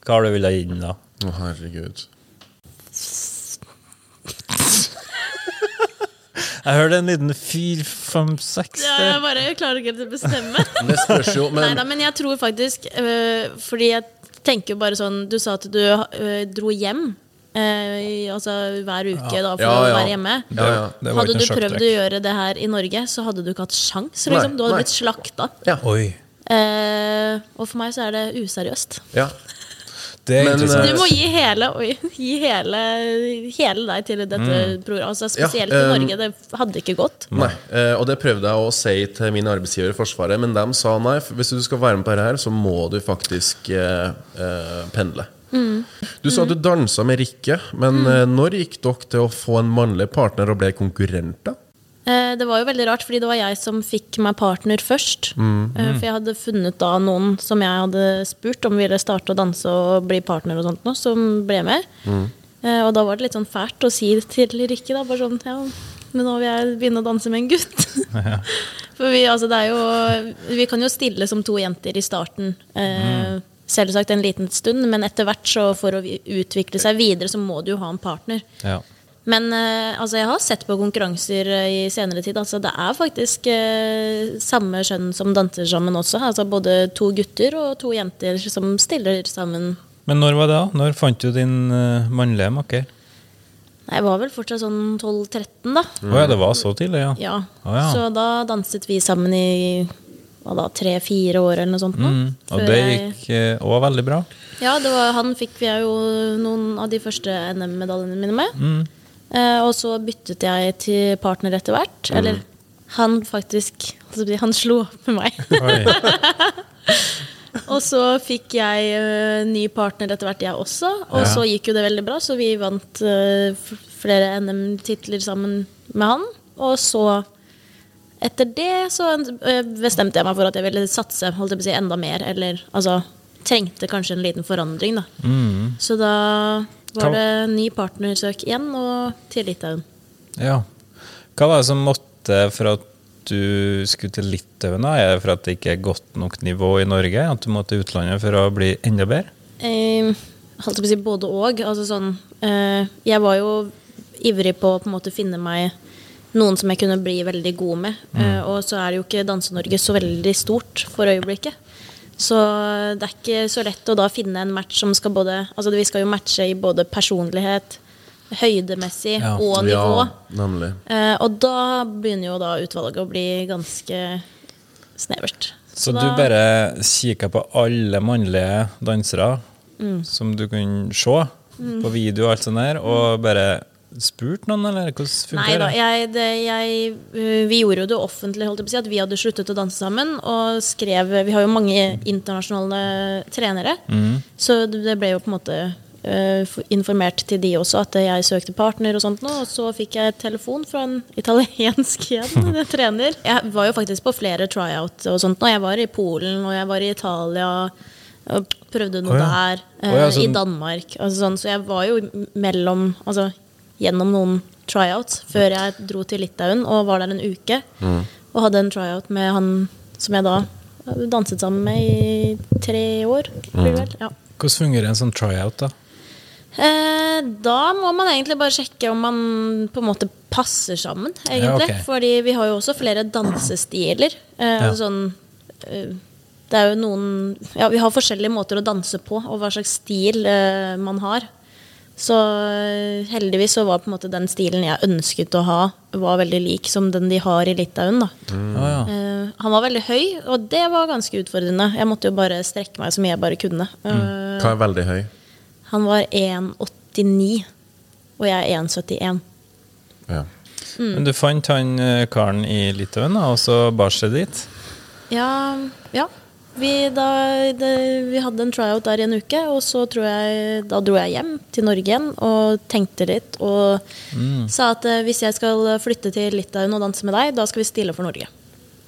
[SPEAKER 3] hva har du villet gi den, da?
[SPEAKER 4] Å, herregud.
[SPEAKER 3] Jeg hørte en liten fire, fem, seks
[SPEAKER 2] Ja, jeg bare klarer ikke helt å bestemme.
[SPEAKER 4] Det spørs jo, men
[SPEAKER 2] Neida, men jeg tror faktisk øh, Fordi jeg tenker jo bare sånn Du sa at du øh, dro hjem øh, i- Altså hver uke da for
[SPEAKER 4] Ja,
[SPEAKER 2] å
[SPEAKER 4] ja.
[SPEAKER 2] være hjemme
[SPEAKER 4] ja, ja.
[SPEAKER 5] Det var ikke en
[SPEAKER 2] Hadde du prøvd å
[SPEAKER 5] sjakktrekk.
[SPEAKER 2] gjøre det her i Norge Så hadde du ikke hatt sjans
[SPEAKER 4] Nei,
[SPEAKER 2] liksom. Du hadde
[SPEAKER 4] nei.
[SPEAKER 2] blitt slakta
[SPEAKER 5] Oi.
[SPEAKER 2] Eh, Og for meg så er det useriøst
[SPEAKER 4] Ja.
[SPEAKER 5] Det er
[SPEAKER 4] Men,
[SPEAKER 5] interessant.
[SPEAKER 2] Du må gi hele, oi, gi hele, hele deg til dette programmet altså, Spesielt
[SPEAKER 4] Mm. Ja,
[SPEAKER 2] i
[SPEAKER 4] eh, øhm,
[SPEAKER 2] Norge, det hadde ikke gått
[SPEAKER 4] Nei, eh, og det prøvde jeg å si til min arbeidsgiver i Forsvaret, men de sa nei. f- Hvis du skal være med på dette, her, så må du faktisk eh, eh, pendle.
[SPEAKER 2] Mm.
[SPEAKER 4] Du sa at du dansa med Rikke, men eh, når gikk dere til å få en mannlig partner og ble konkurrenter?
[SPEAKER 2] Eh, Det var jo veldig rart, fordi det var jeg som fikk meg partner først. Eh, For jeg hadde funnet da noen som jeg hadde spurt om ville starte å danse og bli partner og sånt nå, som ble med. Eh, Og da var det litt sånn fælt å si til Rikke da, bare sånn, ja, men nå vil jeg begynne å danse med en gutt. For vi, altså, det er jo, vi kan jo stille som to jenter i starten. Eh, Selvsagt en liten stund, men etter hvert så for å vi- utvikle seg videre, så må du jo ha en partner.
[SPEAKER 3] Ja.
[SPEAKER 2] Men eh, altså, jeg har sett på konkurranser eh, i senere tid. Altså, det er faktisk eh, samme kjønn som danser sammen også. Altså, både to gutter og to jenter som stiller sammen.
[SPEAKER 3] Men når var det, da? Når fant du din eh, mannlige makker?
[SPEAKER 2] Nei, Jeg var vel fortsatt sånn 12-13, da.
[SPEAKER 3] Å ja, det var så tidlig, ja.
[SPEAKER 2] Ja.
[SPEAKER 3] Å, ja.
[SPEAKER 2] Så da danset vi sammen i hva da, tre-fire år eller noe sånt. nå.
[SPEAKER 3] Mm,
[SPEAKER 2] Før
[SPEAKER 3] og det
[SPEAKER 2] jeg-
[SPEAKER 3] gikk òg veldig bra.
[SPEAKER 2] Ja, det var, han fikk jeg jo noen av de første NM-medaljene mine med. Eh, og så byttet jeg til partner etter hvert. Eller han faktisk altså, Han slo opp med meg.
[SPEAKER 3] Oi.
[SPEAKER 2] og så fikk jeg eh, ny partner etter hvert, jeg også. Og så gikk jo det veldig bra, så vi vant eh, f- flere NM-titler sammen med han. Og så etter det så eh, bestemte jeg meg for at jeg ville satse holdt jeg på å si, enda mer. Eller altså trengte kanskje en liten forandring, da. Så da
[SPEAKER 3] Hva-
[SPEAKER 2] var det ny partnersøk igjen, og til Litauen.
[SPEAKER 3] Ja. Hva var det som måtte for at du skulle til Litauen? da? Er det for at det ikke er godt nok nivå i Norge? At du må til utlandet for å bli enda bedre?
[SPEAKER 2] Eh, holdt jeg på å si både og. Altså sånn, eh, jeg var jo ivrig på å på en måte finne meg noen som jeg kunne bli veldig god med.
[SPEAKER 3] Mm.
[SPEAKER 2] Eh, og så er jo ikke Danse-Norge så veldig stort for øyeblikket. Så eh, det er ikke så lett å da finne en match som skal både Altså vi skal jo matche i både personlighet, høydemessig
[SPEAKER 3] Ja.
[SPEAKER 2] og nivå.
[SPEAKER 4] nemlig.
[SPEAKER 2] Eh, og da begynner jo da utvalget å bli ganske snevert.
[SPEAKER 3] Så
[SPEAKER 2] da-
[SPEAKER 3] du bare kikka på alle mannlige dansere
[SPEAKER 2] Mm.
[SPEAKER 3] som du kunne se på video og alt sånt der, og bare spurt noen, eller hvordan
[SPEAKER 2] Mm. Nei
[SPEAKER 3] funker
[SPEAKER 2] da,
[SPEAKER 3] det?
[SPEAKER 2] jeg, det, jeg, øh, vi gjorde jo det offentlig, holdt jeg på å si, at vi hadde sluttet å danse sammen. Og skrev Vi har jo mange internasjonale trenere, så det ble jo på en måte øh, f- informert til de også at jeg søkte partner og sånt nå. Og så fikk jeg telefon fra en italiensk igjen, trener. Jeg var jo faktisk på flere tryout og sånt nå. Jeg var i Polen, og jeg var i Italia. Og prøvde noe
[SPEAKER 3] Å ja.
[SPEAKER 2] der.
[SPEAKER 3] Å ja,
[SPEAKER 2] eh,
[SPEAKER 3] så
[SPEAKER 2] I
[SPEAKER 3] den-
[SPEAKER 2] Danmark. Altså sånn, så jeg var jo mellom Altså gjennom noen tryouts før jeg dro til Litauen og var der en uke. Og hadde en tryout med han som jeg da danset sammen med i tre år. Blir det vel? Ja.
[SPEAKER 3] Hvordan fungerer en sånn tryout, da?
[SPEAKER 2] Eh, da må man egentlig bare sjekke om man på en måte passer sammen, egentlig.
[SPEAKER 3] ok.
[SPEAKER 2] Fordi vi har jo også flere dansestiler. Eh,
[SPEAKER 3] Ja.
[SPEAKER 2] Sånn eh, Det er jo noen Ja, vi har forskjellige måter å danse på, og hva slags stil eh, man har. Så eh, heldigvis så var på en måte den stilen jeg ønsket å ha, var veldig lik som den de har i Litauen. da
[SPEAKER 3] Å, Ah, ja.
[SPEAKER 2] Eh, Han var veldig høy, og det var ganske utfordrende. Jeg måtte jo bare strekke meg så mye jeg bare kunne.
[SPEAKER 3] Mm.
[SPEAKER 2] Eh,
[SPEAKER 4] Hva er veldig høy?
[SPEAKER 2] han var 1,89, og jeg er 1,71.
[SPEAKER 4] Ja.
[SPEAKER 2] Mm.
[SPEAKER 3] Men du fant han eh, karen i Litauen, da, og så bar seg dit?
[SPEAKER 2] Ja, ja. Vi, da, det, vi hadde en tryout der i en uke, og så tror jeg, da dro jeg hjem til Norge igjen og tenkte litt. Og sa at eh, hvis jeg skal flytte til Litauen og danse med deg, da skal vi stille for Norge.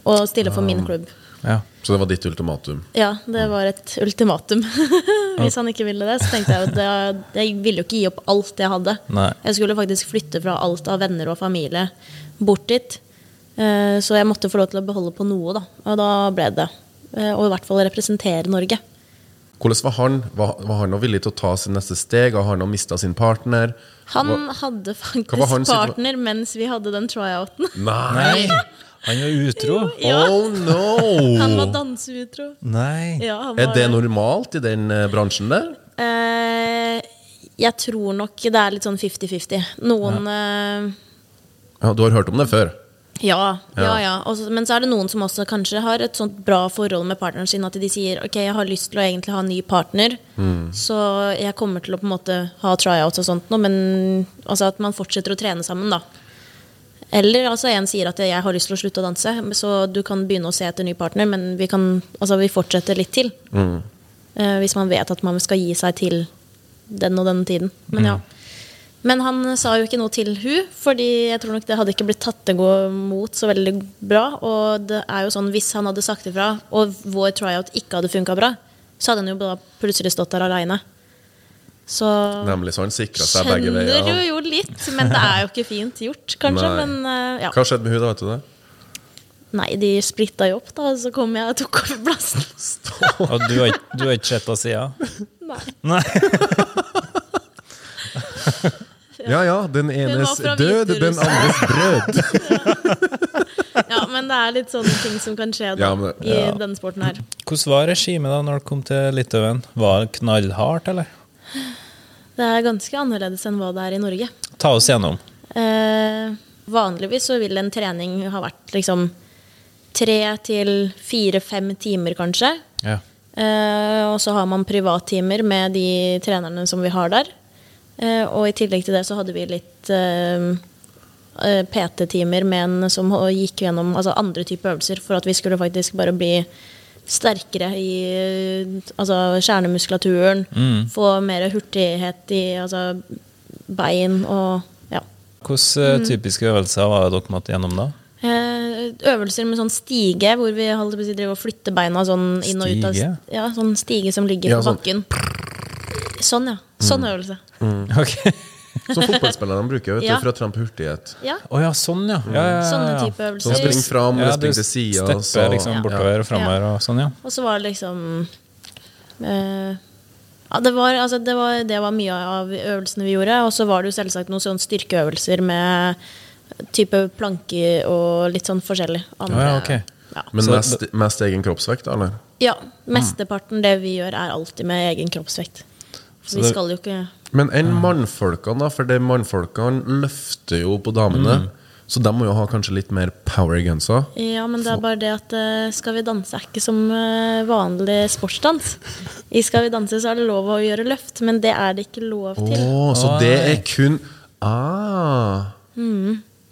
[SPEAKER 2] Og stille for min klubb.
[SPEAKER 3] Ja.
[SPEAKER 4] Så det var ditt ultimatum?
[SPEAKER 2] Ja, det var et ultimatum. Hvis han ikke ville det, så tenkte jeg at det- jeg ville jo ikke gi opp alt jeg hadde.
[SPEAKER 3] Nei.
[SPEAKER 2] Jeg skulle faktisk flytte fra alt av venner og familie bort dit. Eh, Så jeg måtte få lov til å beholde på noe, da. Og da ble det. eh, Og i hvert fall representere Norge.
[SPEAKER 4] Hvordan var han? Var, var han nå villig til å ta sitt neste steg? Har han nå mista sin partner?
[SPEAKER 2] Han
[SPEAKER 4] Hva-
[SPEAKER 2] hadde
[SPEAKER 4] var han
[SPEAKER 2] faktisk
[SPEAKER 4] sitt-
[SPEAKER 2] partner mens vi hadde den tryouten.
[SPEAKER 4] Nei!
[SPEAKER 3] Nei, han var utro.
[SPEAKER 2] Ja,
[SPEAKER 4] Oh
[SPEAKER 2] han var
[SPEAKER 4] no!
[SPEAKER 2] danseutro.
[SPEAKER 5] Nei.
[SPEAKER 2] Ja, han
[SPEAKER 4] Er
[SPEAKER 2] var
[SPEAKER 4] det normalt i den eh, bransjen der?
[SPEAKER 2] Eh, jeg tror nok det er litt sånn 50-50. Noen eh,
[SPEAKER 4] Ja, du har hørt om det før?
[SPEAKER 2] Ja,
[SPEAKER 4] Ja.
[SPEAKER 2] ja, ja. Og så- men så er det noen som også kanskje har et sånt bra forhold med partneren sin at de sier ok, jeg har lyst til å egentlig ha en ny partner, så jeg kommer til å på en måte ha tryouts og sånt nå, men altså at man fortsetter å trene sammen, da. Eller altså en sier at jeg har lyst til å slutte å danse, så du kan begynne å se etter ny partner, men vi kan altså vi fortsetter litt til. Eh, hvis man vet at man skal gi seg til den og den tiden. Men ja.
[SPEAKER 4] Mm.
[SPEAKER 2] Men han sa jo ikke noe til hun, fordi jeg tror nok det hadde ikke blitt tatt imot så veldig bra. Og det er jo sånn, hvis han hadde sagt ifra, og vår tryout ikke hadde funka bra, så hadde han jo da plutselig stått der aleine. Så
[SPEAKER 4] Nemlig, så han sikra seg begge
[SPEAKER 2] skjønner
[SPEAKER 4] veier.
[SPEAKER 2] jo
[SPEAKER 4] han.
[SPEAKER 2] jo litt, men det er jo ikke fint gjort, kanskje.
[SPEAKER 4] Nei.
[SPEAKER 2] Men eh, ja.
[SPEAKER 4] Hva skjedde med hun da, vet du det?
[SPEAKER 2] Nei, de splitta jo opp, da, og så kom jeg og tok over plassen.
[SPEAKER 3] Og du har, ikke- du har ikke sett henne siden?
[SPEAKER 2] Nei.
[SPEAKER 3] Nei.
[SPEAKER 4] Ja ja, den enes
[SPEAKER 2] fra
[SPEAKER 4] død, den
[SPEAKER 2] Hviterussland.
[SPEAKER 4] andres brød.
[SPEAKER 2] Ja, men det er litt sånne ting som kan skje da,
[SPEAKER 4] Ja, men-
[SPEAKER 2] i
[SPEAKER 4] ja.
[SPEAKER 2] denne sporten her.
[SPEAKER 3] Hvordan var regimet da når det kom til Litauen? Var det knallhardt, eller?
[SPEAKER 2] Det er ganske annerledes enn hva det er i Norge.
[SPEAKER 3] Ta oss gjennom.
[SPEAKER 2] Eh, vanligvis så vil en trening ha vært liksom tre til fire-fem timer, kanskje.
[SPEAKER 3] Ja.
[SPEAKER 2] Eh, og så har man privattimer med de trenerne som vi har der. Eh, og i tillegg til det så hadde vi litt eh, eh, PT-timer med en som ho- gikk gjennom altså andre typer øvelser for at vi skulle faktisk bare bli sterkere i eh, altså kjernemuskulaturen. Få mer hurtighet i altså, bein og ja.
[SPEAKER 3] Hvilke
[SPEAKER 2] Mm.
[SPEAKER 3] eh, typiske øvelser var det dere måtte gjennom da?
[SPEAKER 2] Eh, øvelser med sånn stige, hvor vi holdt på å si driver og flytter beina sånn inn og ut av
[SPEAKER 3] Stige?
[SPEAKER 2] Ja, sånn stige som ligger
[SPEAKER 4] Ja,
[SPEAKER 2] på
[SPEAKER 4] sånn.
[SPEAKER 2] bakken. Sånn, ja. Sånn
[SPEAKER 3] Mm.
[SPEAKER 2] øvelse.
[SPEAKER 3] Ok.
[SPEAKER 4] Som fotballspillerne bruker vet du,
[SPEAKER 2] Ja.
[SPEAKER 4] for å trene på hurtighet.
[SPEAKER 2] Ja,
[SPEAKER 3] Å ja, sånn, ja. ja, ja,
[SPEAKER 2] sånne
[SPEAKER 3] ja, ja.
[SPEAKER 2] type
[SPEAKER 4] Sånn
[SPEAKER 2] øvelser.
[SPEAKER 4] spring fram, eller
[SPEAKER 3] Ja, du
[SPEAKER 4] spring til sida.
[SPEAKER 3] stepper liksom bortover og framover og sånn, ja.
[SPEAKER 2] Og så var det liksom eh, Ja, det var, altså, det, var, det var mye av øvelsene vi gjorde. Og så var det jo selvsagt noen sånne styrkeøvelser med type planker og litt sånn forskjellig.
[SPEAKER 3] Ja, ja, ok.
[SPEAKER 2] ja.
[SPEAKER 4] Men
[SPEAKER 3] Så-
[SPEAKER 4] mest, mest egen kroppsvekt, da? eller?
[SPEAKER 2] Ja,
[SPEAKER 3] Mm.
[SPEAKER 2] Mesteparten det vi gjør, er alltid med egen kroppsvekt. For vi
[SPEAKER 3] det-
[SPEAKER 2] skal jo ikke
[SPEAKER 4] Men enn mannfolkene, da? For de mannfolkene løfter jo på damene. Så de må jo ha kanskje litt mer power i gunsa.
[SPEAKER 2] Ja, men det er bare det at eh, Skal vi danse er ikke som eh, vanlig sportsdans. I Skal vi danse så er det lov å gjøre løft, men det er det ikke lov
[SPEAKER 4] Å,
[SPEAKER 2] til.
[SPEAKER 4] så
[SPEAKER 3] Oi.
[SPEAKER 4] det er kun ah.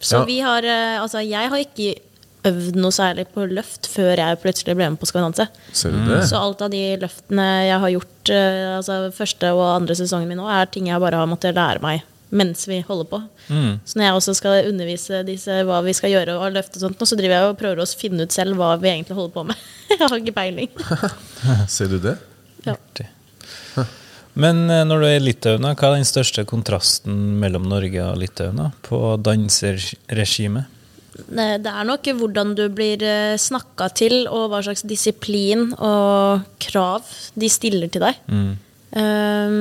[SPEAKER 2] Så
[SPEAKER 4] ja.
[SPEAKER 2] vi har eh, Altså, jeg har ikke øvd noe særlig på løft før jeg plutselig ble med på Skal vi danse.
[SPEAKER 4] Ser du det?
[SPEAKER 2] Så alt av de løftene jeg har gjort eh, altså første og andre sesongen min nå, er ting jeg bare har måttet lære meg mens vi holder på. Så når jeg også skal undervise disse hva vi skal gjøre og løfte og sånt, nå, så driver jeg og prøver å finne ut selv hva vi egentlig holder på med. jeg har ikke peiling.
[SPEAKER 4] Ser du det?
[SPEAKER 2] Ja.
[SPEAKER 3] Men eh, når du er i Litauen, da, hva er den største kontrasten mellom Norge og Litauen da, på danserregimet?
[SPEAKER 2] Ne, Eh, Det er nok hvordan du blir snakka til, og hva slags disiplin og krav de stiller til deg.
[SPEAKER 4] Mm.
[SPEAKER 2] Um,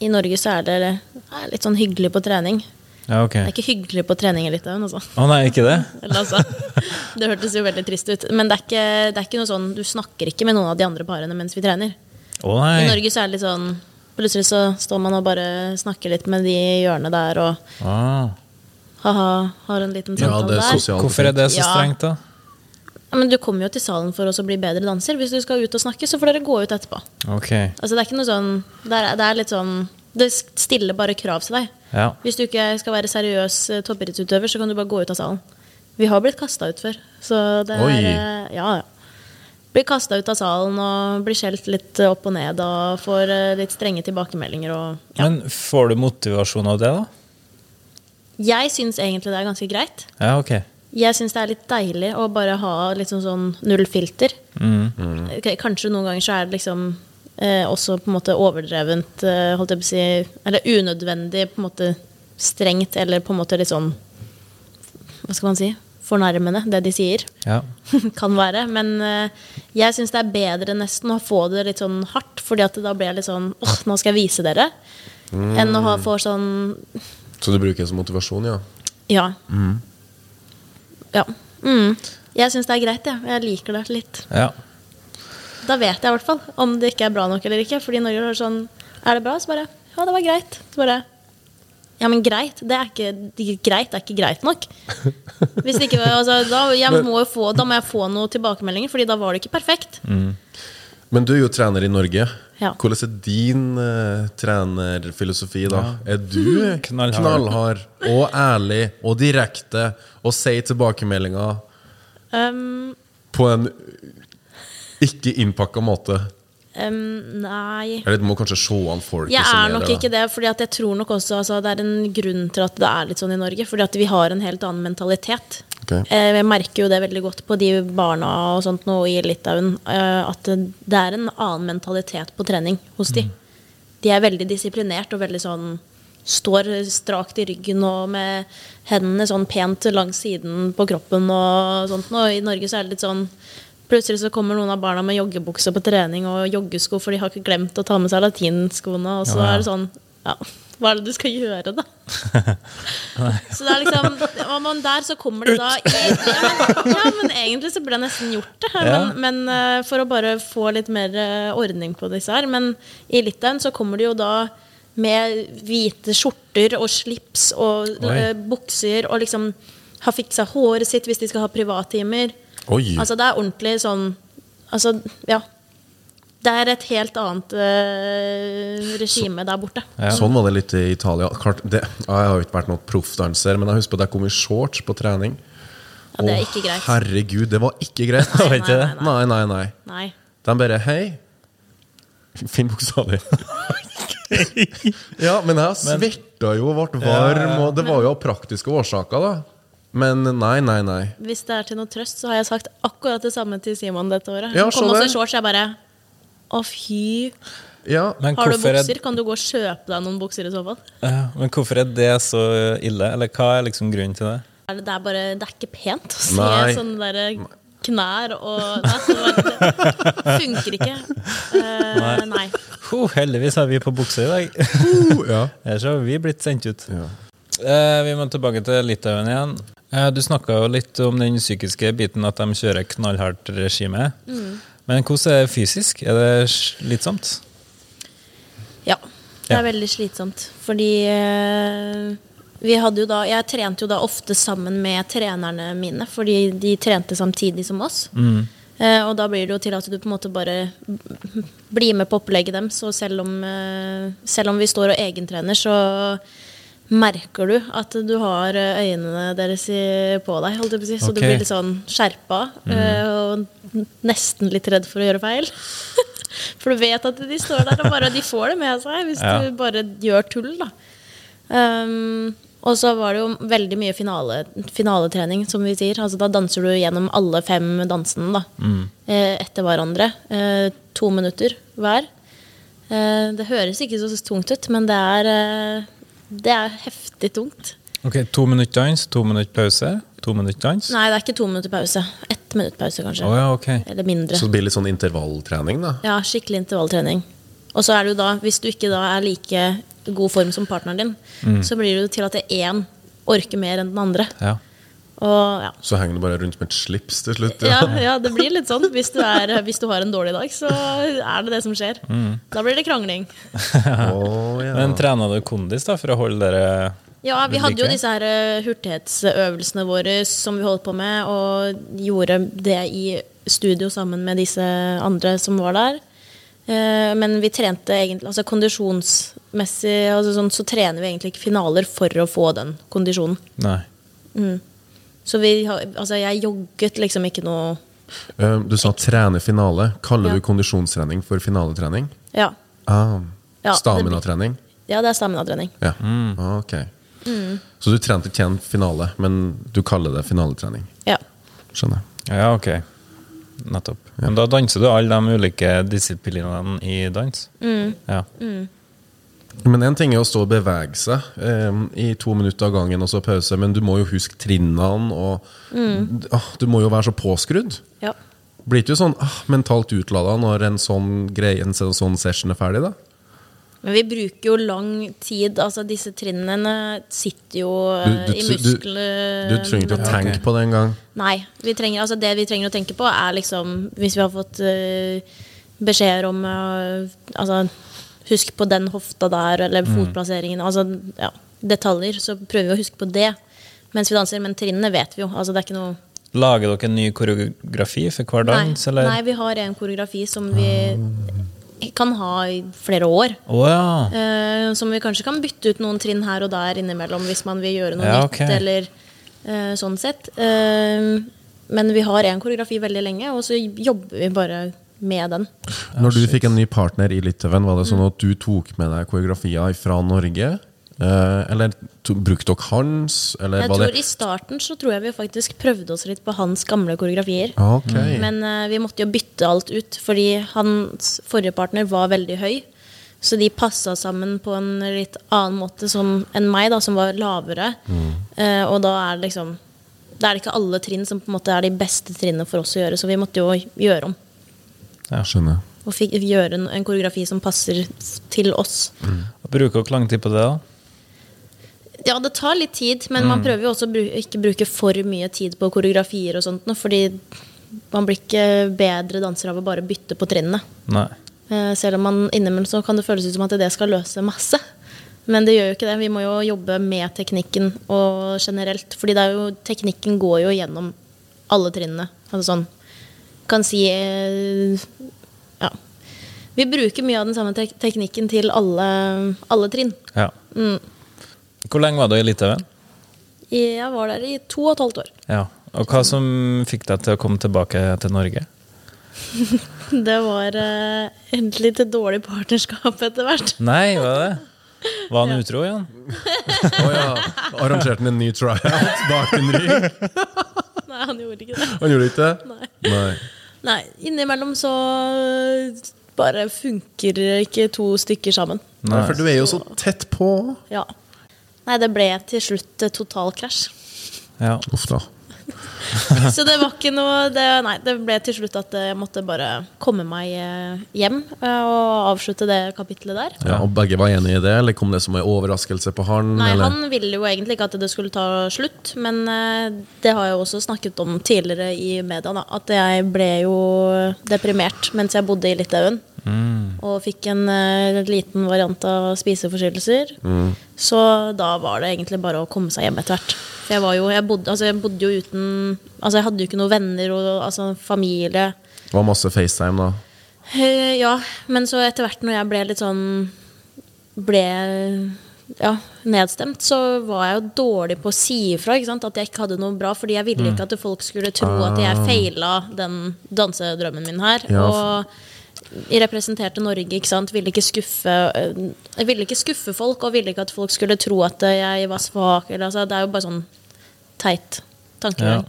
[SPEAKER 2] I Norge så er det er litt sånn hyggelig på trening.
[SPEAKER 3] Ja, ok.
[SPEAKER 2] Det er ikke hyggelig på trening i Litauen, altså.
[SPEAKER 3] Å nei, ikke det?
[SPEAKER 2] Eller, altså. Det hørtes jo veldig trist ut. Men det er, ikke, det er ikke noe sånn, du snakker ikke med noen av de andre parene mens vi trener.
[SPEAKER 3] Å
[SPEAKER 2] I
[SPEAKER 3] nei.
[SPEAKER 2] Norge så er det litt sånn Plutselig så står man og bare snakker litt med de i hjørnet der, og
[SPEAKER 3] Ah.
[SPEAKER 2] ha-ha, har en liten
[SPEAKER 4] Ja,
[SPEAKER 2] samtale
[SPEAKER 4] det er
[SPEAKER 2] der.
[SPEAKER 4] sosialt.
[SPEAKER 3] Hvorfor er det så
[SPEAKER 2] Ja.
[SPEAKER 3] strengt, da?
[SPEAKER 2] Ja, men du kommer jo til salen for å bli bedre danser. Hvis du skal ut og snakke, så får dere gå ut etterpå.
[SPEAKER 3] Ok.
[SPEAKER 2] Altså, det er ikke noe sånn Det er, det er litt sånn Det stiller bare krav til deg.
[SPEAKER 3] Ja.
[SPEAKER 2] Hvis du ikke skal være seriøs eh, toppidrettsutøver, så kan du bare gå ut av salen. Vi har blitt kasta ut før, så det er
[SPEAKER 4] Oi.
[SPEAKER 2] eh, Ja, ja. Blir kasta ut av salen og blir skjelt litt eh, opp og ned og får eh, litt strenge tilbakemeldinger og ja.
[SPEAKER 3] Men får du motivasjon av det, da?
[SPEAKER 2] Jeg syns egentlig det er ganske greit.
[SPEAKER 3] Ja, ok.
[SPEAKER 2] Jeg syns det er litt deilig å bare ha litt sånn, sånn null filter. K- Kanskje noen ganger så er det liksom eh, også på en måte overdrevent, eh, holdt jeg på å si, eller unødvendig på en måte strengt, eller på en måte litt sånn Hva skal man si? fornærmende, det de sier.
[SPEAKER 3] Ja.
[SPEAKER 2] kan være. Men eh, jeg syns det er bedre nesten å få det litt sånn hardt, fordi at det da blir jeg litt sånn åh, nå skal jeg vise dere. Enn å ha få sånn
[SPEAKER 4] Så du bruker det som motivasjon, ja?
[SPEAKER 2] ja. Ja. Mm. Jeg syns det er greit, jeg. Jeg liker det litt.
[SPEAKER 3] ja.
[SPEAKER 2] Da vet jeg i hvert fall om det ikke er bra nok eller ikke. Fordi når du hører sånn Er det bra? Så bare Ja, det var greit. Så bare Ja, men greit. Det er ikke det- greit. Det er ikke greit nok. Hvis det ikke altså, da, jeg må jo få, da må jeg få noen tilbakemeldinger, Fordi da var det ikke perfekt.
[SPEAKER 4] Men du er jo trener i Norge.
[SPEAKER 2] Ja.
[SPEAKER 4] Hvordan er din eh, trenerfilosofi da? Er du knallhard.
[SPEAKER 3] Knallhard.
[SPEAKER 4] og ærlig og direkte og sier tilbakemeldinger
[SPEAKER 2] Um,
[SPEAKER 4] på en ikke innpakka måte?
[SPEAKER 2] um, nei
[SPEAKER 4] Eller du må kanskje se an folket
[SPEAKER 2] Jeg
[SPEAKER 4] som
[SPEAKER 2] er nok
[SPEAKER 4] der, da.
[SPEAKER 2] ikke det, fordi at jeg tror nok også altså, det er en grunn til at det er litt sånn i Norge. Fordi at vi har en helt annen mentalitet.
[SPEAKER 4] Ok.
[SPEAKER 2] Eh, Jeg merker jo det veldig godt på de barna og sånt nå i Litauen, eh, at det er en annen mentalitet på trening hos
[SPEAKER 4] Mm.
[SPEAKER 2] de. De er veldig disiplinert og veldig sånn Står strakt i ryggen og med hendene sånn pent langs siden på kroppen og sånt. Og i Norge så er det litt sånn Plutselig så kommer noen av barna med joggebukse på trening og joggesko, for de har ikke glemt å ta med seg latinskoene. Og så
[SPEAKER 3] Ja, ja.
[SPEAKER 2] er det sånn Ja, hva er det du skal gjøre, da? Så det er liksom og man Der så kommer det da ja, men, ja, men egentlig så burde jeg nesten gjort det.
[SPEAKER 3] Ja.
[SPEAKER 2] Men, men eh, for å bare få litt mer eh, ordning på disse her. Men i Litauen så kommer de jo da med hvite skjorter og slips og
[SPEAKER 3] Oi.
[SPEAKER 2] eh, bukser og liksom har fiksa håret sitt hvis de skal ha privattimer.
[SPEAKER 4] Oi!
[SPEAKER 2] Altså det er ordentlig sånn Altså, ja. Det er et helt annet eh, regime der borte.
[SPEAKER 4] Sånn var det litt i Italia. Klart, det, jeg har jo ikke vært noen proffdanser, men jeg husker at jeg kom i shorts på trening.
[SPEAKER 2] Ja, det er
[SPEAKER 4] Å,
[SPEAKER 2] ikke greit.
[SPEAKER 4] herregud, det var ikke greit.
[SPEAKER 3] Nei, nei, nei,
[SPEAKER 4] nei, nei, nei.
[SPEAKER 2] Nei.
[SPEAKER 4] De bare Hei, finn buksa di. ja, men jeg svetta jo og ble varm, og det var jo av praktiske årsaker, da. Men nei, nei, nei.
[SPEAKER 2] Hvis det er til noe trøst, så har jeg sagt akkurat det samme til Simon dette året.
[SPEAKER 4] Ja,
[SPEAKER 2] Han kom
[SPEAKER 4] så
[SPEAKER 2] også
[SPEAKER 4] det.
[SPEAKER 2] i shorts, jeg bare Å, fy.
[SPEAKER 4] Ja,
[SPEAKER 3] Men
[SPEAKER 2] Har du
[SPEAKER 3] hvorfor er-
[SPEAKER 2] bukser? Kan du gå og kjøpe deg noen bukser i så fall?
[SPEAKER 3] Ja, Men hvorfor er det så ille? Eller hva er liksom grunnen til det?
[SPEAKER 2] Er Det det er bare Det er ikke pent å se
[SPEAKER 4] Nei.
[SPEAKER 2] sånne derre knær og Nei, så det bare- det funker ikke. Eh, nei.
[SPEAKER 3] Ho, heldigvis har vi på bukse i dag.
[SPEAKER 4] Oh, ja.
[SPEAKER 3] Ellers har vi blitt sendt ut. Eh, vi må tilbake til Litauen igjen. Eh, du snakka jo litt om den psykiske biten, at de kjører knallhardt regime.
[SPEAKER 2] Mm.
[SPEAKER 3] Men hvordan er det fysisk? Er det slitsomt?
[SPEAKER 2] Ja. Det er
[SPEAKER 3] Ja.
[SPEAKER 2] veldig slitsomt. Fordi eh, vi hadde jo da Jeg trente jo da ofte sammen med trenerne mine, fordi de trente samtidig som oss. Eh, og da blir det jo til at du på en måte bare blir med på opplegget deres. Og selv om, eh, selv om vi står og egentrener, så merker du at du har eh, øynene deres i, på deg. Holdt jeg på å si. Så
[SPEAKER 3] Ok.
[SPEAKER 2] du blir litt sånn skjerpa eh, og n- nesten litt redd for å gjøre feil. For du vet at de står der, og bare de får det med seg hvis
[SPEAKER 3] Ja.
[SPEAKER 2] du bare gjør tull, da. Um, og så var det jo veldig mye finale, finaletrening, som vi sier. Altså, da danser du gjennom alle fem dansene da. Eh, etter hverandre. Eh, to minutter hver. Eh, det høres ikke så tungt ut, men det er, eh, det er heftig tungt.
[SPEAKER 3] Ok, To minutter dans, to minutter pause, to minutter dans.
[SPEAKER 2] Nei, det er ikke to minutter pause. Ett minutt pause,
[SPEAKER 3] Å
[SPEAKER 2] kanskje.
[SPEAKER 3] ja, ok.
[SPEAKER 2] Eller mindre.
[SPEAKER 4] Så det blir litt sånn intervalltrening, da.
[SPEAKER 2] Ja, skikkelig intervalltrening. Og så er det jo da, hvis du ikke da er like god form som partneren din,
[SPEAKER 3] Mm.
[SPEAKER 2] så blir det jo til at det er én orker mer enn den andre.
[SPEAKER 3] Ja.
[SPEAKER 2] Og ja.
[SPEAKER 4] Så henger du bare rundt med et slips til slutt.
[SPEAKER 2] Ja,
[SPEAKER 4] Ja.
[SPEAKER 2] ja, det blir litt sånn. Hvis du, er, hvis du har en dårlig dag, så er det det som skjer.
[SPEAKER 3] Mm.
[SPEAKER 2] Da blir det krangling.
[SPEAKER 4] Å, ja.
[SPEAKER 3] Men trener du kondis da, for å holde dere
[SPEAKER 2] Ja, vi
[SPEAKER 3] Vil
[SPEAKER 2] hadde jo
[SPEAKER 3] like.
[SPEAKER 2] disse her eh, hurtighetsøvelsene våre som vi holdt på med, og gjorde det i studio sammen med disse andre som var der. Eh, Men vi trente egentlig altså kondisjonsmessig altså sånn, så trener vi egentlig ikke finaler for å få den kondisjonen.
[SPEAKER 3] Nei.
[SPEAKER 2] Så vi, har- altså jeg jogget liksom ikke noe
[SPEAKER 4] Eh, Du sa trene finale. Kaller
[SPEAKER 2] Ja.
[SPEAKER 4] du kondisjonstrening for finaletrening?
[SPEAKER 2] Ja,
[SPEAKER 4] Ah.
[SPEAKER 2] Ja, det blir-
[SPEAKER 4] Staminatrening?
[SPEAKER 2] ja det er staminatrening.
[SPEAKER 4] Ja. Ah, ok.
[SPEAKER 2] Mm.
[SPEAKER 4] Så du trente ikke en finale, men du kaller det finaletrening?
[SPEAKER 2] Ja.
[SPEAKER 4] Skjønner.
[SPEAKER 3] Ja, ok. Nettopp.
[SPEAKER 2] Mm.
[SPEAKER 3] Men da danser du alle de ulike disiplinene i dans? Ja.
[SPEAKER 4] Men en ting er å stå og bevege seg em, i to minutter av gangen og så pause, men du må jo huske trinnene, og
[SPEAKER 2] Mm.
[SPEAKER 4] d- ah, du må jo være så påskrudd.
[SPEAKER 2] Ja.
[SPEAKER 4] Blir ikke du sånn ah, mentalt utlada når en sånn, greie, en sånn session er ferdig, da?
[SPEAKER 2] Men vi bruker jo lang tid. Altså, disse trinnene sitter jo eh, i
[SPEAKER 4] tr-
[SPEAKER 2] muskler
[SPEAKER 4] du trenger ikke å tenke på det engang.
[SPEAKER 2] Nei. Vi trenger, altså, det vi trenger å tenke på, er liksom Hvis vi har fått eh, beskjeder om eh, Altså, husk på den hofta der, eller fotplasseringen Altså, ja, detaljer. Så prøver vi å huske på det mens vi danser. Men trinnene vet vi jo. Altså, det er ikke noe
[SPEAKER 3] Lager dere en ny koreografi for hver
[SPEAKER 2] Nei,
[SPEAKER 3] dans, eller?
[SPEAKER 2] nei vi har en koreografi som vi kan ha i flere år.
[SPEAKER 3] Å ja.
[SPEAKER 2] Eh, som vi kanskje kan bytte ut noen trinn her og der innimellom hvis man vil gjøre noe
[SPEAKER 3] Ja, ok.
[SPEAKER 2] nytt. eller eh, sånn sett. Eh, men vi har en koreografi veldig lenge, og så jobber vi bare med den.
[SPEAKER 4] Når du fikk en ny partner i Litauen, var det sånn at du tok med deg koreografier fra Norge? Eh, eller to, brukte dere hans? Eller
[SPEAKER 2] Jeg
[SPEAKER 4] var
[SPEAKER 2] tror
[SPEAKER 4] det
[SPEAKER 2] I starten så tror jeg vi faktisk prøvde oss litt på hans gamle koreografier.
[SPEAKER 4] Ah, Ok.
[SPEAKER 2] Men eh, vi måtte jo bytte alt ut, fordi hans forrige partner var veldig høy. Så de passa sammen på en litt annen måte som, enn meg, da, som var lavere. Eh, og da er det liksom Da er det ikke alle trinn som på en måte er de beste trinnene for oss å gjøre, så vi måtte jo gjøre om.
[SPEAKER 4] Skjønner.
[SPEAKER 2] Og fikk gjøre en, en koreografi som passer til oss.
[SPEAKER 3] Bruker dere lang tid på det, da?
[SPEAKER 2] Ja, det tar litt tid, men man prøver jo også å bru- ikke bruke for mye tid på koreografier og sånt, nå, fordi man blir ikke bedre danser av å bare bytte på trinnene.
[SPEAKER 3] Nei.
[SPEAKER 2] Eh, Selv om man innimellom så kan det føles ut som at det skal løse masse. Men det gjør jo ikke det. Vi må jo jobbe med teknikken og generelt. Fordi det er jo, teknikken går jo gjennom alle trinnene. Altså sånn Kan si eh, Ja. Vi bruker mye av den samme tek teknikken til alle, alle trinn. Mm.
[SPEAKER 3] Ja. Hvor lenge var du i Litauen?
[SPEAKER 2] Jeg var der i to og et halvt år.
[SPEAKER 3] Ja. Og hva som fikk deg til å komme tilbake til Norge?
[SPEAKER 2] Det var eh, et litt dårlig partnerskap etter hvert.
[SPEAKER 3] Nei, var det det? Var han utro igjen?
[SPEAKER 4] Å ja. Arrangerte han en ny tryout bak en rygg?
[SPEAKER 2] Nei, han gjorde ikke det.
[SPEAKER 4] Han gjorde ikke det? Nei.
[SPEAKER 2] Nei, innimellom så eh, bare funker ikke to stykker sammen.
[SPEAKER 4] Nei, For du er jo så tett på.
[SPEAKER 2] Ja. Nei, det ble til slutt eh, total krasj.
[SPEAKER 3] Ja.
[SPEAKER 4] Uff da.
[SPEAKER 2] Så det var ikke noe det, Nei, det ble til slutt at jeg måtte bare komme meg eh, hjem eh, og avslutte det kapitlet der.
[SPEAKER 4] Ja, og begge var enige i det, eller kom det som en overraskelse på han?
[SPEAKER 2] Nei,
[SPEAKER 4] eller?
[SPEAKER 2] han ville jo egentlig ikke at det skulle ta slutt, men eh, det har jeg jo også snakket om tidligere i media, da, at jeg ble jo deprimert mens jeg bodde i Litauen. Og fikk en eh, liten variant av spiseforstyrrelser. Så da var det egentlig bare å komme seg hjem etter hvert. For jeg, var jo, jeg, bodde, altså, jeg bodde jo uten Altså, jeg hadde jo ikke noen venner og altså, familie.
[SPEAKER 4] Det var masse FaceTime, da.
[SPEAKER 2] Eh, Ja, men så etter hvert når jeg ble litt sånn Ble ja, nedstemt, så var jeg jo dårlig på å si ifra ikke sant? at jeg ikke hadde noe bra. Fordi jeg ville ikke at folk skulle tro at jeg feila den dansedrømmen min her.
[SPEAKER 4] Ja,
[SPEAKER 2] Og jeg representerte Norge, ikke sant. Ville ikke skuffe eh, Jeg ville ikke skuffe folk, og ville ikke at folk skulle tro at jeg var svak. Eller, altså, det er jo bare sånn teit tankegang.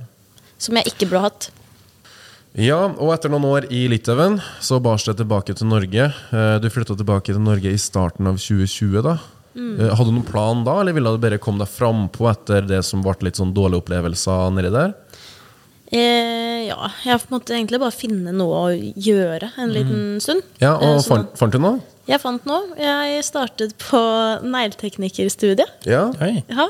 [SPEAKER 2] Som jeg ikke burde hatt.
[SPEAKER 4] Ja, og etter noen år i Litauen så bars det tilbake til Norge. Eh, Du flytta tilbake til Norge i starten av 2020, da.
[SPEAKER 2] Mm.
[SPEAKER 4] Eh, Hadde du noen plan da, eller ville du bare komme deg frampå etter det som ble litt sånn dårlige opplevelser nedi der?
[SPEAKER 2] Eh, ja, jeg måtte egentlig bare finne noe å gjøre en liten stund.
[SPEAKER 4] Mm. Ja,
[SPEAKER 2] Eh,
[SPEAKER 4] og
[SPEAKER 2] så
[SPEAKER 4] fant, fant du noe?
[SPEAKER 2] da- Jeg fant noe. Jeg startet på negleteknikerstudiet.
[SPEAKER 4] Ja.
[SPEAKER 3] Oi.
[SPEAKER 2] Ja,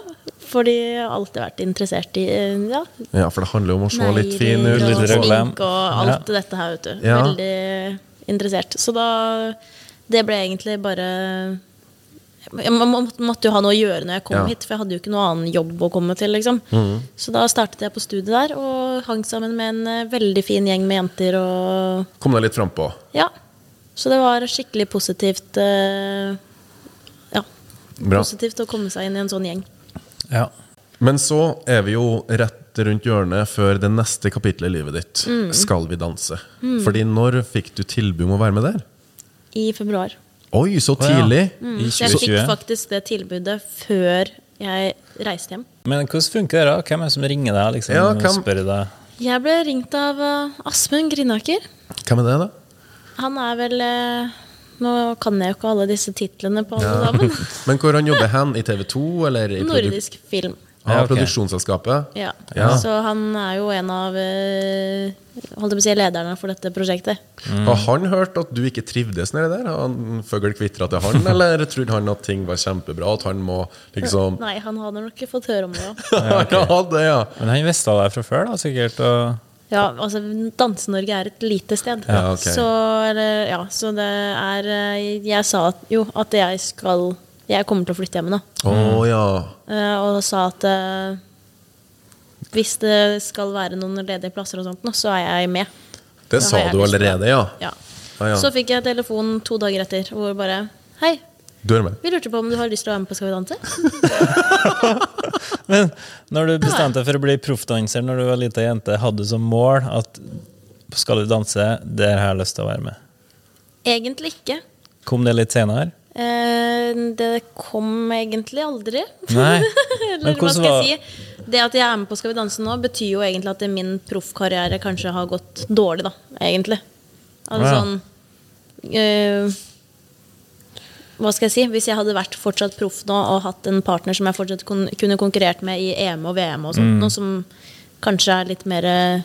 [SPEAKER 2] fordi jeg har alltid vært interessert i eh, ja,
[SPEAKER 4] ja, for det handler jo om å se litt fin
[SPEAKER 2] negler
[SPEAKER 4] ut.
[SPEAKER 2] og
[SPEAKER 4] Litt
[SPEAKER 3] rød.
[SPEAKER 2] smink og alt dette her, vet du.
[SPEAKER 4] Ja.
[SPEAKER 2] Veldig interessert. Så da Det ble egentlig bare jeg må- må- måtte jo ha noe å gjøre når jeg kom
[SPEAKER 4] Ja. Mm.
[SPEAKER 2] hit, for jeg hadde jo ikke noe annen jobb å komme til. Liksom. Så da startet jeg på studiet der og hang sammen med en eh, veldig fin gjeng med jenter. Og
[SPEAKER 4] Kom deg litt frampå.
[SPEAKER 2] ja, Så det var skikkelig positivt. eh, Ja,
[SPEAKER 4] Bra.
[SPEAKER 2] positivt å komme seg inn i en sånn gjeng.
[SPEAKER 3] Ja.
[SPEAKER 4] Men så er vi jo rett rundt hjørnet før det neste kapitlet i livet ditt. Skal vi danse? Fordi når fikk du tilbud om å være med der?
[SPEAKER 2] I februar. Mm.
[SPEAKER 4] Oi, så
[SPEAKER 3] ja.
[SPEAKER 4] tidlig!
[SPEAKER 3] I
[SPEAKER 2] Så jeg fikk
[SPEAKER 3] 2020.
[SPEAKER 2] faktisk det tilbudet før jeg reiste hjem.
[SPEAKER 3] Men hvordan funker det? da? Hvem er det som ringer deg? liksom,
[SPEAKER 4] Ja,
[SPEAKER 3] og
[SPEAKER 4] hvem-
[SPEAKER 3] spør deg?
[SPEAKER 2] Jeg ble ringt av eh, Asmund Grinaker.
[SPEAKER 4] Hvem er det, da?
[SPEAKER 2] Han er vel eh, Nå kan jeg jo ikke alle disse titlene på alle sammen.
[SPEAKER 4] Men hvor han jobber hen? I TV 2, eller i produ
[SPEAKER 2] Nordisk film.
[SPEAKER 4] ah,
[SPEAKER 3] Ja, ok.
[SPEAKER 4] produksjonsselskapet?
[SPEAKER 2] Ja.
[SPEAKER 4] Ja.
[SPEAKER 2] Så han er jo en av eh, holdt jeg på å si, lederne for dette prosjektet.
[SPEAKER 3] Mm.
[SPEAKER 4] Har han hørt at du ikke trivdes nedi der? Har han føgl kvitra til han, eller trodde han at ting var kjempebra? At han må liksom
[SPEAKER 2] Nei, han hadde nok ikke fått høre om det òg.
[SPEAKER 4] Ja, det, ja.
[SPEAKER 3] Men han visste det fra før, da, sikkert. Og...
[SPEAKER 2] Ja, altså Danse-Norge er et lite sted.
[SPEAKER 4] Ja, ok.
[SPEAKER 2] så, eller, ja, så det er eh, Jeg sa at, jo at jeg skal Jeg kommer til å flytte hjem nå.
[SPEAKER 4] Å ja.
[SPEAKER 2] Eh, Og sa at eh, hvis det skal være noen ledige plasser og sånt nå, så er jeg med.
[SPEAKER 4] Det sa
[SPEAKER 2] har jeg
[SPEAKER 4] du
[SPEAKER 2] lyst til
[SPEAKER 4] allerede, ja.
[SPEAKER 2] Ja.
[SPEAKER 4] Ah, ja.
[SPEAKER 2] Så fikk jeg telefon to dager etter hvor bare Hei,
[SPEAKER 4] Du er med.
[SPEAKER 2] vi lurte på om du har lyst til å være med på Skal vi danse?
[SPEAKER 3] Men når du bestemte deg for å bli proffdanser når du var lita jente, hadde du som mål at på skal du danse, der har jeg lyst til å være med?
[SPEAKER 2] Egentlig ikke.
[SPEAKER 3] Kom det litt senere?
[SPEAKER 2] Eh, Det kom egentlig aldri.
[SPEAKER 3] Nei.
[SPEAKER 2] Eller hva
[SPEAKER 3] hvordan
[SPEAKER 2] skal
[SPEAKER 3] var-
[SPEAKER 2] jeg si? Det at jeg er med på Skal vi danse nå, betyr jo egentlig at min proffkarriere kanskje har gått dårlig, da. Egentlig. Altså
[SPEAKER 3] Ja.
[SPEAKER 2] sånn eh, Hva skal jeg si? Hvis jeg hadde vært fortsatt proff nå og hatt en partner som jeg fortsatt kon kunne konkurrert med i EM og VM og
[SPEAKER 3] Mm.
[SPEAKER 2] sånt, noe som kanskje er litt mer eh,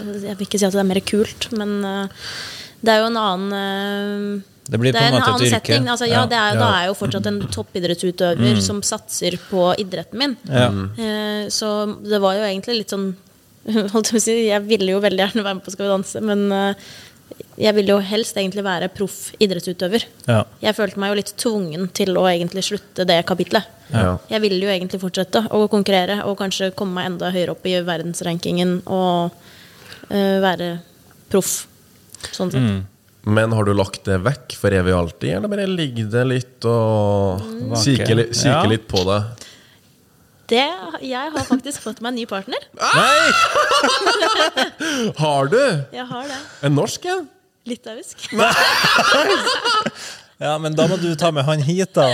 [SPEAKER 2] Jeg vil ikke si at det er mer kult, men eh, det er jo en annen eh,
[SPEAKER 3] Det blir på
[SPEAKER 2] er
[SPEAKER 3] en måte
[SPEAKER 2] annen
[SPEAKER 3] et yrke.
[SPEAKER 2] setting. Altså, ja,
[SPEAKER 3] Ja.
[SPEAKER 2] det er, Da
[SPEAKER 3] Ja.
[SPEAKER 2] er jeg jo fortsatt en toppidrettsutøver som satser på idretten min.
[SPEAKER 3] Mm. Ja.
[SPEAKER 2] Eh, Så det var jo egentlig litt sånn holdt jeg, på å si, jeg ville jo veldig gjerne være med på Skal vi danse, men eh, jeg ville jo helst egentlig være proff idrettsutøver.
[SPEAKER 3] Ja.
[SPEAKER 2] Jeg følte meg jo litt tvungen til å egentlig slutte det kapitlet.
[SPEAKER 4] Ja.
[SPEAKER 2] Jeg ville jo egentlig fortsette å konkurrere og kanskje komme meg enda høyere opp i verdensrankingen og eh, være proff. Sånn sett.
[SPEAKER 3] Mm.
[SPEAKER 4] Men har du lagt det vekk for evig og alltid, eller bare ligger det litt og kikker, litt- kikker
[SPEAKER 3] Ja.
[SPEAKER 4] litt på det?
[SPEAKER 2] Det, jeg har faktisk fått meg en ny partner.
[SPEAKER 4] Nei! Har du?
[SPEAKER 2] Jeg har det.
[SPEAKER 4] En norsk en?
[SPEAKER 2] Litauisk.
[SPEAKER 3] ja, men da må du ta med han hit, da.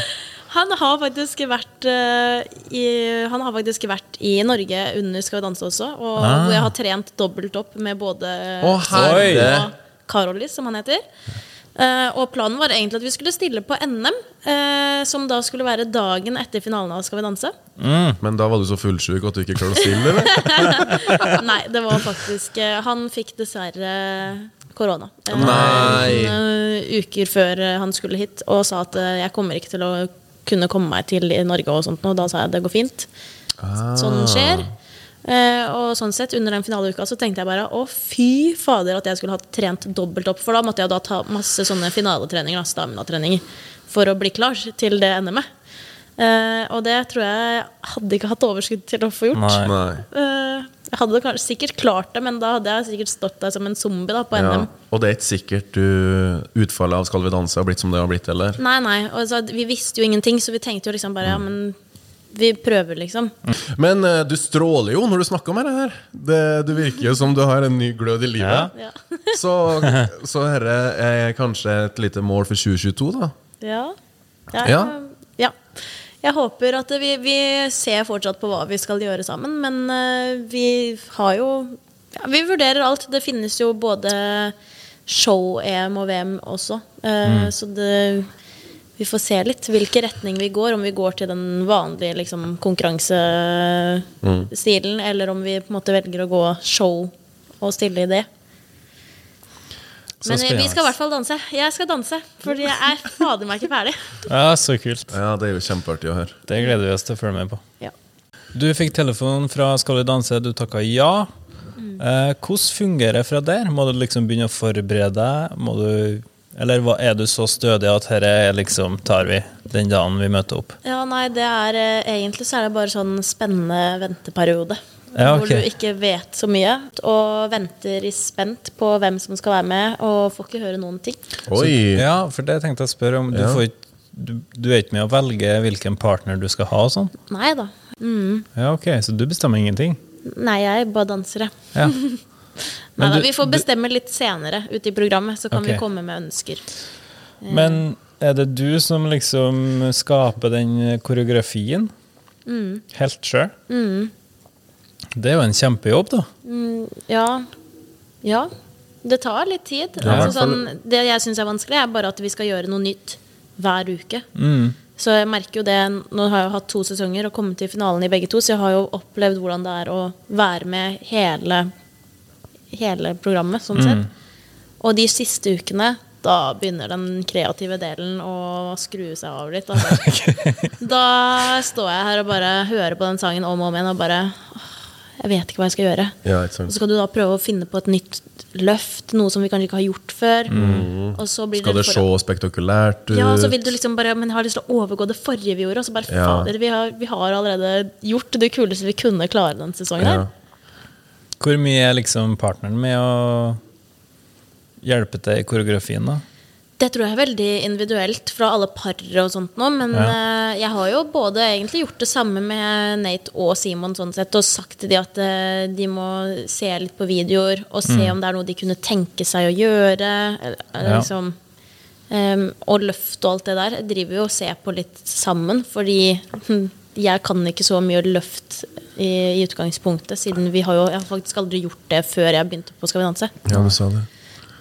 [SPEAKER 2] Han har faktisk vært eh, i, Han har faktisk vært i Norge under Skal vi danse også, og hvor jeg har trent dobbelt opp med både
[SPEAKER 4] Ah. Å, herre!
[SPEAKER 3] Oi.
[SPEAKER 2] og Karolis, som han heter. Eh, og planen var egentlig at vi skulle stille på NM, eh, som da skulle være dagen etter finalen av Skal vi danse.
[SPEAKER 4] Men da var du så fullsjuk at du ikke klarte å stille, eller?
[SPEAKER 2] Nei, det var faktisk eh, Han fikk dessverre korona. Eh,
[SPEAKER 4] Nei!
[SPEAKER 2] eh, uker før eh, han skulle hit og sa at eh, jeg kommer ikke til å kunne komme meg til i Norge og sånt noe. Da sa jeg det går fint.
[SPEAKER 4] Ah.
[SPEAKER 2] Sånn skjer. Eh, og sånn sett, under den finaleuka så tenkte jeg bare å fy fader at jeg skulle ha trent dobbelt opp, for da måtte jeg da ta masse sånne finaletreninger, da, staminatreninger, for å bli klar til det NM-et. Eh, og det tror jeg jeg hadde ikke hatt overskudd til å få gjort.
[SPEAKER 3] Nei.
[SPEAKER 4] Nei.
[SPEAKER 2] Eh, jeg hadde kanskje, sikkert klart det, men da hadde jeg sikkert stått der som en zombie da, på E.
[SPEAKER 4] Ja.
[SPEAKER 2] NM.
[SPEAKER 4] Og det er ikke sikkert du utfallet av Skal vi danse har blitt som det har blitt, eller?
[SPEAKER 2] Nei, nei. Og så, vi visste jo ingenting, så vi tenkte jo liksom bare ja, men vi prøver, liksom.
[SPEAKER 4] Men eh, du stråler jo når du snakker om det her. Det, du virker jo som du har en ny glød
[SPEAKER 3] Ja.
[SPEAKER 4] i livet.
[SPEAKER 2] Ja.
[SPEAKER 4] Så, så dette er kanskje et lite mål for 2022, da.
[SPEAKER 2] Ja. Ja,
[SPEAKER 4] Ja.
[SPEAKER 2] ja. Jeg håper at vi, vi ser fortsatt på hva vi skal gjøre sammen, men eh, vi har jo ja, Vi vurderer alt. Det finnes jo både show-EM og VM også,
[SPEAKER 3] Mm.
[SPEAKER 2] eh, så det vi får se litt hvilken retning vi går, om vi går til den vanlige liksom, konkurransestilen,
[SPEAKER 3] Mm.
[SPEAKER 2] eller om vi på en måte velger å gå show og stille i det.
[SPEAKER 3] Så
[SPEAKER 2] Men eh, vi
[SPEAKER 3] spennende.
[SPEAKER 2] skal i hvert fall danse. Jeg skal danse, for jeg er fader meg ikke ferdig.
[SPEAKER 3] Ja, så kult.
[SPEAKER 4] Ja, det er jo kjempeartig å høre.
[SPEAKER 3] Det gleder vi oss til å følge med på.
[SPEAKER 2] Ja.
[SPEAKER 3] Du fikk telefon fra Skal vi danse, du takka ja.
[SPEAKER 2] Mm.
[SPEAKER 3] Eh, hvordan fungerer det fra der? Må du liksom begynne å forberede deg? Må du, eller hva- er du så stødig at dette er liksom tar vi den dagen vi møter opp?
[SPEAKER 2] Ja, nei, det er eh, egentlig så er det bare sånn spennende venteperiode.
[SPEAKER 3] Ja, ok.
[SPEAKER 2] Hvor du ikke vet så mye, og venter i spent på hvem som skal være med, og får ikke høre noen ting.
[SPEAKER 4] Oi!
[SPEAKER 3] Ja, for det tenkte jeg å spørre om. Du,
[SPEAKER 4] Ja.
[SPEAKER 3] får ikke, du, du er ikke med å velge hvilken partner du skal ha og sånn?
[SPEAKER 2] Nei da. Mm.
[SPEAKER 3] Ja, ok, så du bestemmer ingenting?
[SPEAKER 2] Nei, jeg er bare danser, jeg.
[SPEAKER 3] Ja. Men
[SPEAKER 2] Neida,
[SPEAKER 3] du-
[SPEAKER 2] vi får bestemme litt senere ute i programmet, så kan
[SPEAKER 3] Ok.
[SPEAKER 2] vi komme med ønsker.
[SPEAKER 3] Men er det du som liksom skaper den koreografien? Helt sjøl? Det er jo en kjempejobb, da.
[SPEAKER 2] Ja. Ja. Det tar litt tid.
[SPEAKER 4] Ja, i hvert
[SPEAKER 2] altså,
[SPEAKER 4] fall-
[SPEAKER 2] sånn, det jeg syns er vanskelig, er bare at vi skal gjøre noe nytt hver uke. Så jeg merker jo det Nå har jeg jo hatt to sesonger og kommet til finalen i begge to, så jeg har jo opplevd hvordan det er å være med hele, hele programmet, sånn sett. Og de siste ukene, da begynner den kreative delen å skru seg av litt. Altså. da står jeg her og bare hører på den sangen om og om igjen og bare «Åh, Jeg vet ikke hva jeg skal gjøre.
[SPEAKER 4] Ja, ikke
[SPEAKER 2] Og
[SPEAKER 4] sant.
[SPEAKER 2] så skal du da prøve å finne på et nytt løft, noe som vi kanskje ikke har gjort før. Og så blir
[SPEAKER 4] Mm. Skal det
[SPEAKER 2] for-
[SPEAKER 4] se spektakulært ut?
[SPEAKER 2] Ja, og så vil du liksom bare Men jeg har lyst til å overgå det forrige vi gjorde. Og så bare
[SPEAKER 4] Ja.
[SPEAKER 2] fader, vi har, vi har allerede gjort det kuleste vi kunne klare den sesongen her.
[SPEAKER 4] Ja.
[SPEAKER 3] Hvor mye er liksom partneren med å hjelpe til i koreografien, da?
[SPEAKER 2] Det tror jeg er veldig individuelt fra alle par og sånt nå, men eh, jeg har jo både egentlig gjort det samme med Nate og Simon sånn sett, og sagt til de at eh, de må se litt på videoer og se om det er noe de kunne tenke seg å gjøre. Eller, eller
[SPEAKER 3] Ja.
[SPEAKER 2] liksom, em, og løft og alt det der jeg driver jo og ser på litt sammen, fordi hm, jeg kan ikke så mye løft i, i utgangspunktet, siden vi har jo jeg har faktisk aldri gjort det før jeg begynte på Skal vi danse.
[SPEAKER 4] ja, du sa det.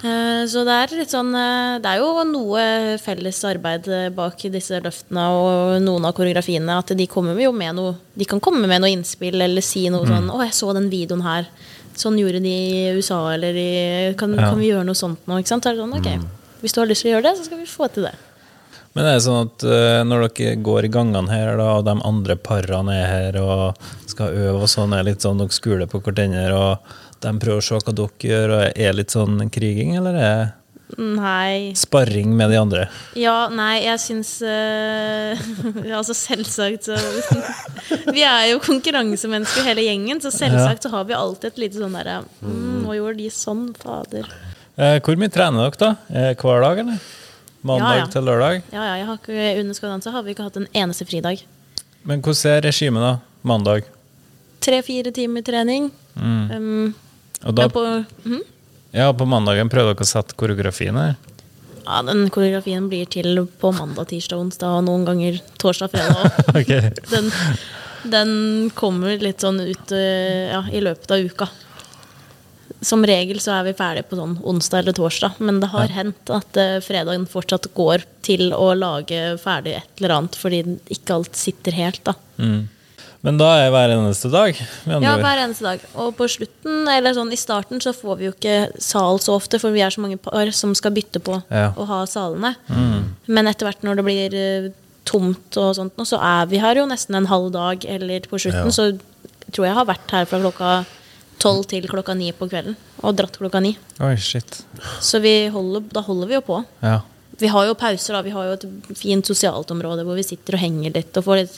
[SPEAKER 2] Eh, Så det er litt sånn eh, Det er jo noe felles arbeid eh, bak disse løftene og noen av koreografiene. At de kommer jo med noe De kan komme med noe innspill eller si noe sånn 'Å, jeg så den videoen her. Sånn gjorde de i USA, eller i Kan,
[SPEAKER 3] Ja.
[SPEAKER 2] kan vi gjøre noe sånt nå?' Ikke sant? Så er det sånn, ok, hvis du har lyst til å gjøre det, så skal vi få til det.
[SPEAKER 3] Men er det sånn at eh, når dere går i gangene her, da, og de andre parene er her og skal øve og sånn, er det litt sånn dere skuler på hverandre, og de prøver å se hva dere gjør, og er litt sånn kriging, eller er det
[SPEAKER 2] «Mm, Nei
[SPEAKER 3] sparring med de andre?
[SPEAKER 2] Ja, nei, jeg syns eh, ja, Altså, selvsagt så Vi er jo konkurransemennesker hele gjengen, så selvsagt så har vi alltid et lite sånn derre mm, Nå gjorde de sånn, fader.
[SPEAKER 3] Eh, Hvor mye trener dere, da? Eh, Hver dag, eller? Mandag
[SPEAKER 2] Ja, ja.
[SPEAKER 3] til lørdag?
[SPEAKER 2] Ja, ja, jeg har ikke, under Skal vi danse har vi ikke hatt en eneste fridag.
[SPEAKER 3] Men hvordan er regimet, da? Mandag?
[SPEAKER 2] Tre-fire timer trening. Um,
[SPEAKER 3] Og da,
[SPEAKER 2] men på, mhm.
[SPEAKER 3] ja, på mandagen prøver dere å sette koreografien her.
[SPEAKER 2] ja, den koreografien blir til på mandag, tirsdag, onsdag og noen ganger torsdag, fredag. også.
[SPEAKER 3] Ok.
[SPEAKER 2] Den, den kommer litt sånn ut eh, ja, i løpet av uka. Som regel så er vi ferdige på sånn onsdag eller torsdag, men det har hendt at eh, fredagen fortsatt går til å lage ferdig et eller annet, fordi ikke alt sitter helt, da.
[SPEAKER 3] Men da er hver eneste dag? Med andre
[SPEAKER 2] Ja,
[SPEAKER 3] ord.
[SPEAKER 2] hver eneste dag. Og på slutten, eller sånn i starten, så får vi jo ikke sal så ofte, for vi er så mange par som skal bytte på
[SPEAKER 3] Ja.
[SPEAKER 2] å ha salene. Men etter hvert når det blir eh, tomt og sånt, nå, så er vi her jo nesten en halv dag, eller på slutten, så tror jeg har vært her fra klokka tolv til klokka ni på kvelden, og dratt klokka ni.
[SPEAKER 3] Oi, shit.
[SPEAKER 2] Så vi holder, da holder vi jo på.
[SPEAKER 3] Ja.
[SPEAKER 2] Vi har jo pauser, da. Vi har jo et fint sosialt område hvor vi sitter og henger litt og får litt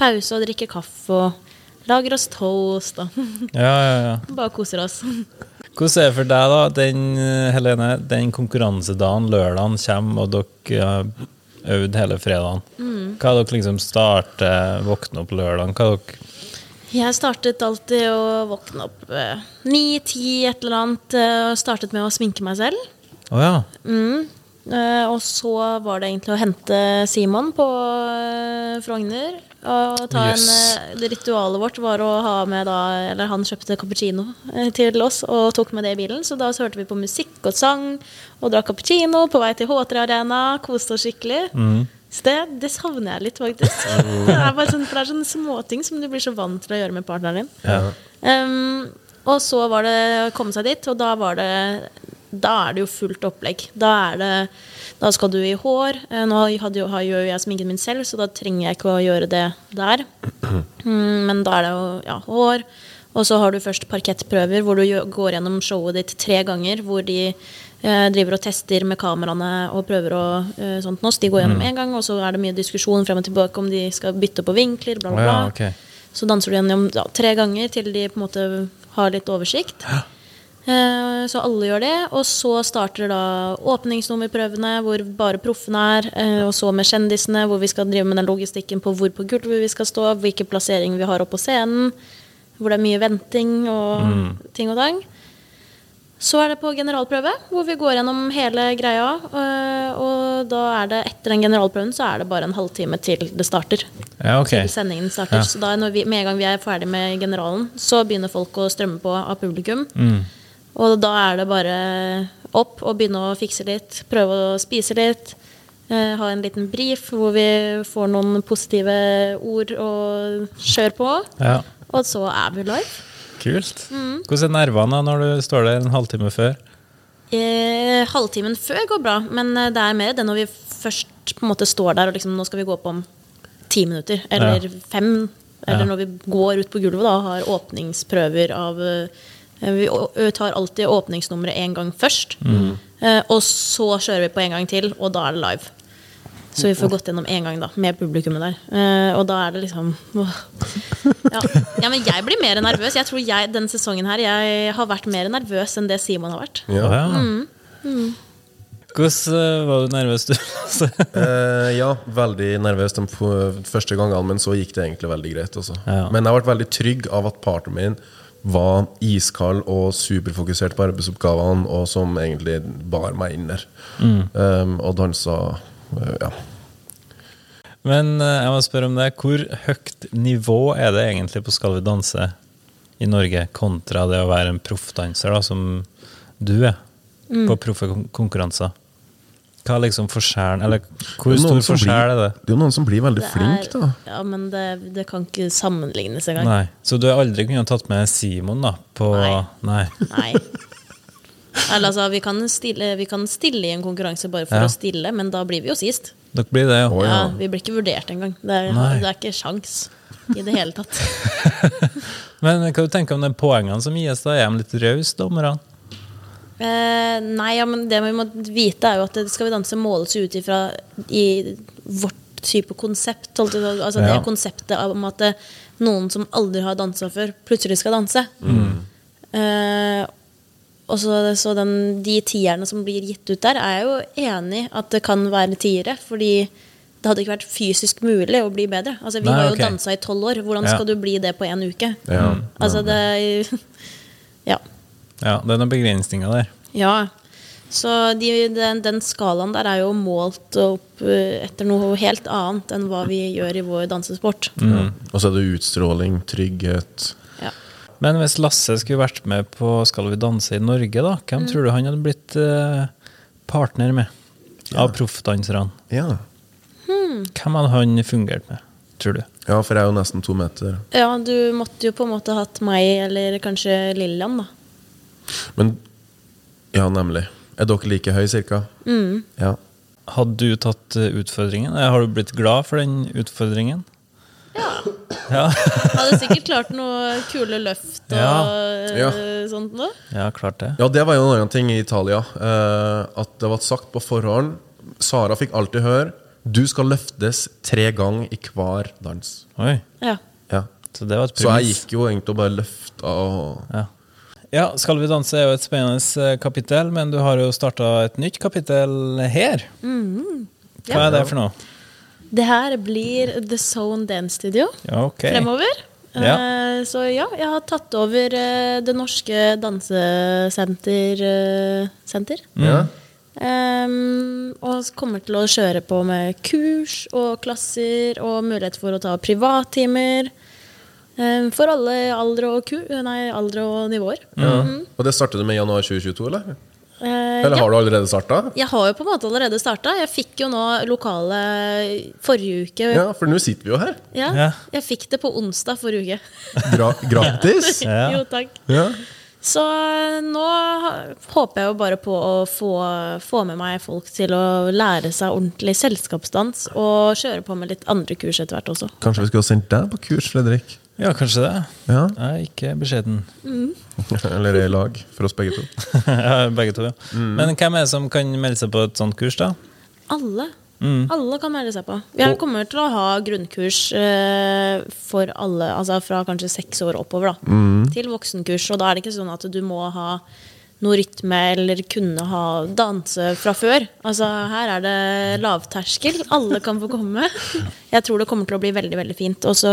[SPEAKER 2] pause og drikker kaffe og lager oss toast og
[SPEAKER 3] ja, ja, ja.
[SPEAKER 2] bare koser oss.
[SPEAKER 3] Hvordan er det for deg, da? Den, eh, Helene, den konkurransedagen, lørdagen, kommer, og dere har øvd hele fredagen.
[SPEAKER 2] Mm.
[SPEAKER 3] Hva er dere liksom starter, våkner opp lørdagen? Hva er dere
[SPEAKER 2] Jeg startet alltid å våkne opp ni-ti, et eller annet. eh, og startet med å sminke meg selv.
[SPEAKER 3] Å ja.
[SPEAKER 2] Eh, og så var det egentlig å hente Simon på eh, Frogner. Og ta
[SPEAKER 3] Yes.
[SPEAKER 2] en, eh, det ritualet vårt var å ha med da Eller han kjøpte cappuccino eh, til oss og tok med det i bilen. Så da så hørte vi på musikk og sang og drakk cappuccino på vei til H3 Arena. Koste oss skikkelig. Så det, det savner jeg litt, faktisk. Mm. Det er bare sånn, for det er sånne småting som du blir så vant til å gjøre med partneren din. Um, og så var det å komme seg dit, og da var det da er det jo fullt opplegg. Da, er det, da skal du i hår. Eh, Nå hadde jo, har- gjør jo jeg sminken min selv, så da trenger jeg ikke å gjøre det der. Mm, Men da er det jo ja, hår. Og så har du først parkettprøver, hvor du gjø- går gjennom showet ditt tre ganger. Hvor de eh, driver og tester med kameraene og prøver og eh, sånt nå. Så de går gjennom
[SPEAKER 3] Mm.
[SPEAKER 2] én gang, og så er det mye diskusjon frem og tilbake om de skal bytte på vinkler, bla, bla,
[SPEAKER 3] Å
[SPEAKER 2] bla.
[SPEAKER 3] ja, ok.
[SPEAKER 2] Så danser du gjennom ja, tre ganger til de på en måte har litt oversikt. Eh, Så alle gjør det. Og så starter da åpningsnummerprøvene, hvor bare proffene er. eh, Og så med kjendisene, hvor vi skal drive med den logistikken på hvor på gulvet vi skal stå, hvilke plasseringer vi har oppe på scenen. Hvor det er mye venting og ting og tang. Så er det på generalprøve, hvor vi går gjennom hele greia. eh, Og da er det etter den generalprøven så er det bare en halvtime til det starter
[SPEAKER 3] Ja, ok.
[SPEAKER 2] til sendingen starter.
[SPEAKER 3] Mm.
[SPEAKER 2] Så da når vi, med en gang vi er ferdig med generalen, så begynner folk å strømme på av publikum. Og da er det bare opp og begynne å fikse litt, prøve å spise litt. eh, Ha en liten brief hvor vi får noen positive ord og kjør på.
[SPEAKER 3] Ja.
[SPEAKER 2] Og så er vi live.
[SPEAKER 3] Kult. Hvordan er nervene da når du står der en halvtime før?
[SPEAKER 2] Eh, halvtimen før går bra, men eh, det er mer det når vi først på en måte står der og liksom nå skal vi gå opp om ti minutter, eller
[SPEAKER 3] Ja.
[SPEAKER 2] fem. Eller
[SPEAKER 3] Ja.
[SPEAKER 2] når vi går ut på gulvet da, og har åpningsprøver av eh, Vi å- ø- tar alltid åpningsnummeret én gang først.
[SPEAKER 3] Mm.
[SPEAKER 2] Eh, og så kjører vi på en gang til, og da er det live. Så vi får gått gjennom én gang da, med publikummet der. Eh, og da er det liksom åh. ja. ja, men jeg blir mer nervøs. Jeg tror jeg, denne sesongen her, jeg har vært mer nervøs enn det Simon har vært.
[SPEAKER 3] Ja. Hvordan eh, var du nervøs, du? Altså.
[SPEAKER 4] Eh, ja, veldig nervøs de f- første gangene, men så gikk det egentlig veldig greit. Også.
[SPEAKER 3] Ja.
[SPEAKER 4] Men jeg ble veldig trygg av at partneren min var iskald og superfokusert på arbeidsoppgavene, og som egentlig bar meg inn der. Eh, og dansa eh, ja.
[SPEAKER 3] Men eh, jeg må spørre om det. Hvor høyt nivå er det egentlig på Skal vi danse i Norge, kontra det å være en proffdanser, da, som du er, på proffe kon- konkurranser? Hva er liksom forskjellen, eller hvor
[SPEAKER 4] Det er
[SPEAKER 3] stor
[SPEAKER 4] noen som
[SPEAKER 3] forskjell er
[SPEAKER 4] blir-
[SPEAKER 3] det?
[SPEAKER 4] Det er jo noen som blir veldig flink,
[SPEAKER 2] er-
[SPEAKER 4] da.
[SPEAKER 2] Ja, men det, det kan ikke sammenlignes engang.
[SPEAKER 3] Nei. Så du har aldri kunnet tatt med Simon, da? På
[SPEAKER 2] Nei.
[SPEAKER 3] Nei.
[SPEAKER 2] Nei. Eller altså, vi kan, stille, vi kan stille i en konkurranse bare for
[SPEAKER 3] Ja.
[SPEAKER 2] å stille, men da blir vi jo sist.
[SPEAKER 3] Dere blir det,
[SPEAKER 4] Å,
[SPEAKER 3] jo.
[SPEAKER 2] Ja,
[SPEAKER 4] ja.
[SPEAKER 2] vi blir ikke vurdert engang. Det, er-
[SPEAKER 3] Nei.
[SPEAKER 2] det er ikke sjans i det hele tatt.
[SPEAKER 3] Men hva du tenker om de poengene som gis, da? Er de litt rause, dommerne?
[SPEAKER 2] Eh, nei, ja, men det vi må vite, er jo at det Skal vi danse måles ut ifra i vårt type konsept. holdt jeg på å si. Altså
[SPEAKER 3] Ja.
[SPEAKER 2] det konseptet om at eh, noen som aldri har dansa før, plutselig skal danse.
[SPEAKER 3] Mm.
[SPEAKER 2] Eh, og så, så den, de tierne som blir gitt ut der, er jeg jo enig i at det kan være tiere. Fordi det hadde ikke vært fysisk mulig å bli bedre. Altså, vi
[SPEAKER 3] Nei,
[SPEAKER 2] har jo
[SPEAKER 3] ok.
[SPEAKER 2] dansa i tolv år. Hvordan
[SPEAKER 3] Ja.
[SPEAKER 2] skal du bli det på én uke?
[SPEAKER 4] Ja.
[SPEAKER 2] Altså, det Ja.
[SPEAKER 3] Ja, det er noen begrensninger der.
[SPEAKER 2] Ja. Så de, den, den skalaen der er jo målt opp eh, etter noe helt annet enn hva vi gjør i vår dansesport.
[SPEAKER 3] Mm.
[SPEAKER 4] Og så er det utstråling, trygghet
[SPEAKER 2] Ja.
[SPEAKER 3] Men hvis Lasse skulle vært med på Skal vi danse i Norge, da, hvem tror du han hadde blitt eh, partner med? Av proffdanserne.
[SPEAKER 4] Ja.
[SPEAKER 3] Hvem hadde han fungert med, tror du?
[SPEAKER 4] ja, for jeg er jo nesten to meter.
[SPEAKER 2] ja, du måtte jo på en måte hatt meg, eller kanskje Lillian, da.
[SPEAKER 4] Men Ja, nemlig. Er dere like høye, cirka?
[SPEAKER 2] Mm.
[SPEAKER 4] Ja.
[SPEAKER 3] Hadde du tatt eh, utfordringen? Eh, Har du blitt glad for den utfordringen?
[SPEAKER 2] Hadde sikkert klart noe kule løft og
[SPEAKER 3] Ja.
[SPEAKER 4] Ja.
[SPEAKER 2] eh, sånt noe.
[SPEAKER 3] Ja, klart det.
[SPEAKER 4] Ja, det var jo en annen ting i Italia. eh, at det var sagt på forhånd Sara fikk alltid høre du skal løftes tre ganger i hver dans.
[SPEAKER 3] Oi,
[SPEAKER 2] Ja.
[SPEAKER 4] Ja.
[SPEAKER 3] Så det var et
[SPEAKER 4] Så jeg
[SPEAKER 3] premiss.
[SPEAKER 4] gikk jo egentlig og bare løfta og
[SPEAKER 3] Ja. ja, Skal vi danse er jo et spennende eh, kapittel, men du har jo starta et nytt kapittel her. Mm-hmm. Hva er det for noe?
[SPEAKER 2] Det her blir The Zone Dance Studio
[SPEAKER 3] Ja, ok.
[SPEAKER 2] fremover.
[SPEAKER 3] Ja.
[SPEAKER 2] Eh, så ja, jeg har tatt over eh, det norske dansesenter eh, senter.
[SPEAKER 4] ja.
[SPEAKER 2] Ehm, og s- kommer til å kjøre på med kurs og klasser og mulighet for å ta privattimer. ehm, for alle aldre og, ku nei, aldre og nivåer. Mhm.
[SPEAKER 4] Og det starter du med i januar 2022, eller?
[SPEAKER 2] Eh,
[SPEAKER 4] Eller
[SPEAKER 2] ja.
[SPEAKER 4] har du allerede starta?
[SPEAKER 2] Jeg har jo på en måte allerede starta. Jeg fikk jo nå lokale forrige uke.
[SPEAKER 4] Ja, for nå sitter vi jo her.
[SPEAKER 2] Ja,
[SPEAKER 3] Ja.
[SPEAKER 2] Jeg fikk det på onsdag forrige uke.
[SPEAKER 4] Gra gratis.
[SPEAKER 3] Ja.
[SPEAKER 2] jo, takk.
[SPEAKER 4] Ja.
[SPEAKER 2] Så eh, nå ha- håper jeg jo bare på å få, få med meg folk til å lære seg ordentlig selskapsdans, og kjøre på med litt andre kurs etter hvert også.
[SPEAKER 4] Kanskje vi skulle ha sendt deg på kurs, Fredrik?
[SPEAKER 3] Ja, kanskje det.
[SPEAKER 4] Ja.
[SPEAKER 3] Jeg er ikke beskjeden.
[SPEAKER 4] Eller i lag, for oss begge to.
[SPEAKER 3] Ja, Begge to, ja.
[SPEAKER 5] Mm.
[SPEAKER 3] Men hvem er det som kan melde seg på et sånt kurs, da?
[SPEAKER 2] Alle.
[SPEAKER 4] Mm.
[SPEAKER 2] Alle kan melde seg på. Jeg kommer til å ha grunnkurs eh, for alle, altså fra kanskje seks år oppover, da,
[SPEAKER 4] Mm.
[SPEAKER 2] til voksenkurs. Og da er det ikke sånn at du må ha noe rytme eller kunne ha danse fra før. Altså her er det lavterskel. Alle kan få komme. Jeg tror det kommer til å bli veldig veldig fint. Og så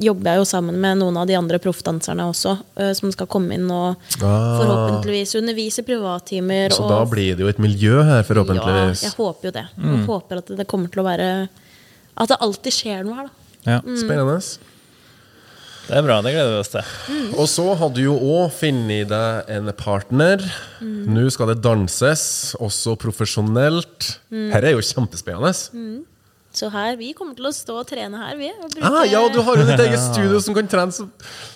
[SPEAKER 2] jobber jeg jo sammen med noen av de andre proffdanserne også, eh, som skal komme inn og
[SPEAKER 4] Ah.
[SPEAKER 2] forhåpentligvis undervise i privattimer.
[SPEAKER 4] Så
[SPEAKER 2] og
[SPEAKER 4] da blir det jo et miljø her, forhåpentligvis.
[SPEAKER 2] ja, jeg håper jo det.
[SPEAKER 4] Mm.
[SPEAKER 2] Jeg håper at det
[SPEAKER 4] Mm.
[SPEAKER 2] Mm. kommer til å være At det alltid skjer noe her, da.
[SPEAKER 3] Ja.
[SPEAKER 4] Spennende.
[SPEAKER 5] Det er bra, det gleder vi oss til.
[SPEAKER 4] Og så hadde du jo òg funnet deg en partner.
[SPEAKER 2] Mm.
[SPEAKER 4] Nå skal det danses, også profesjonelt.
[SPEAKER 2] Mm.
[SPEAKER 4] Her er jo kjempespennende.
[SPEAKER 2] Så her, vi kommer til å stå og trene her, vi. Og bruke,
[SPEAKER 4] Ah, ja, og du har jo ditt eget studio som kan trene så-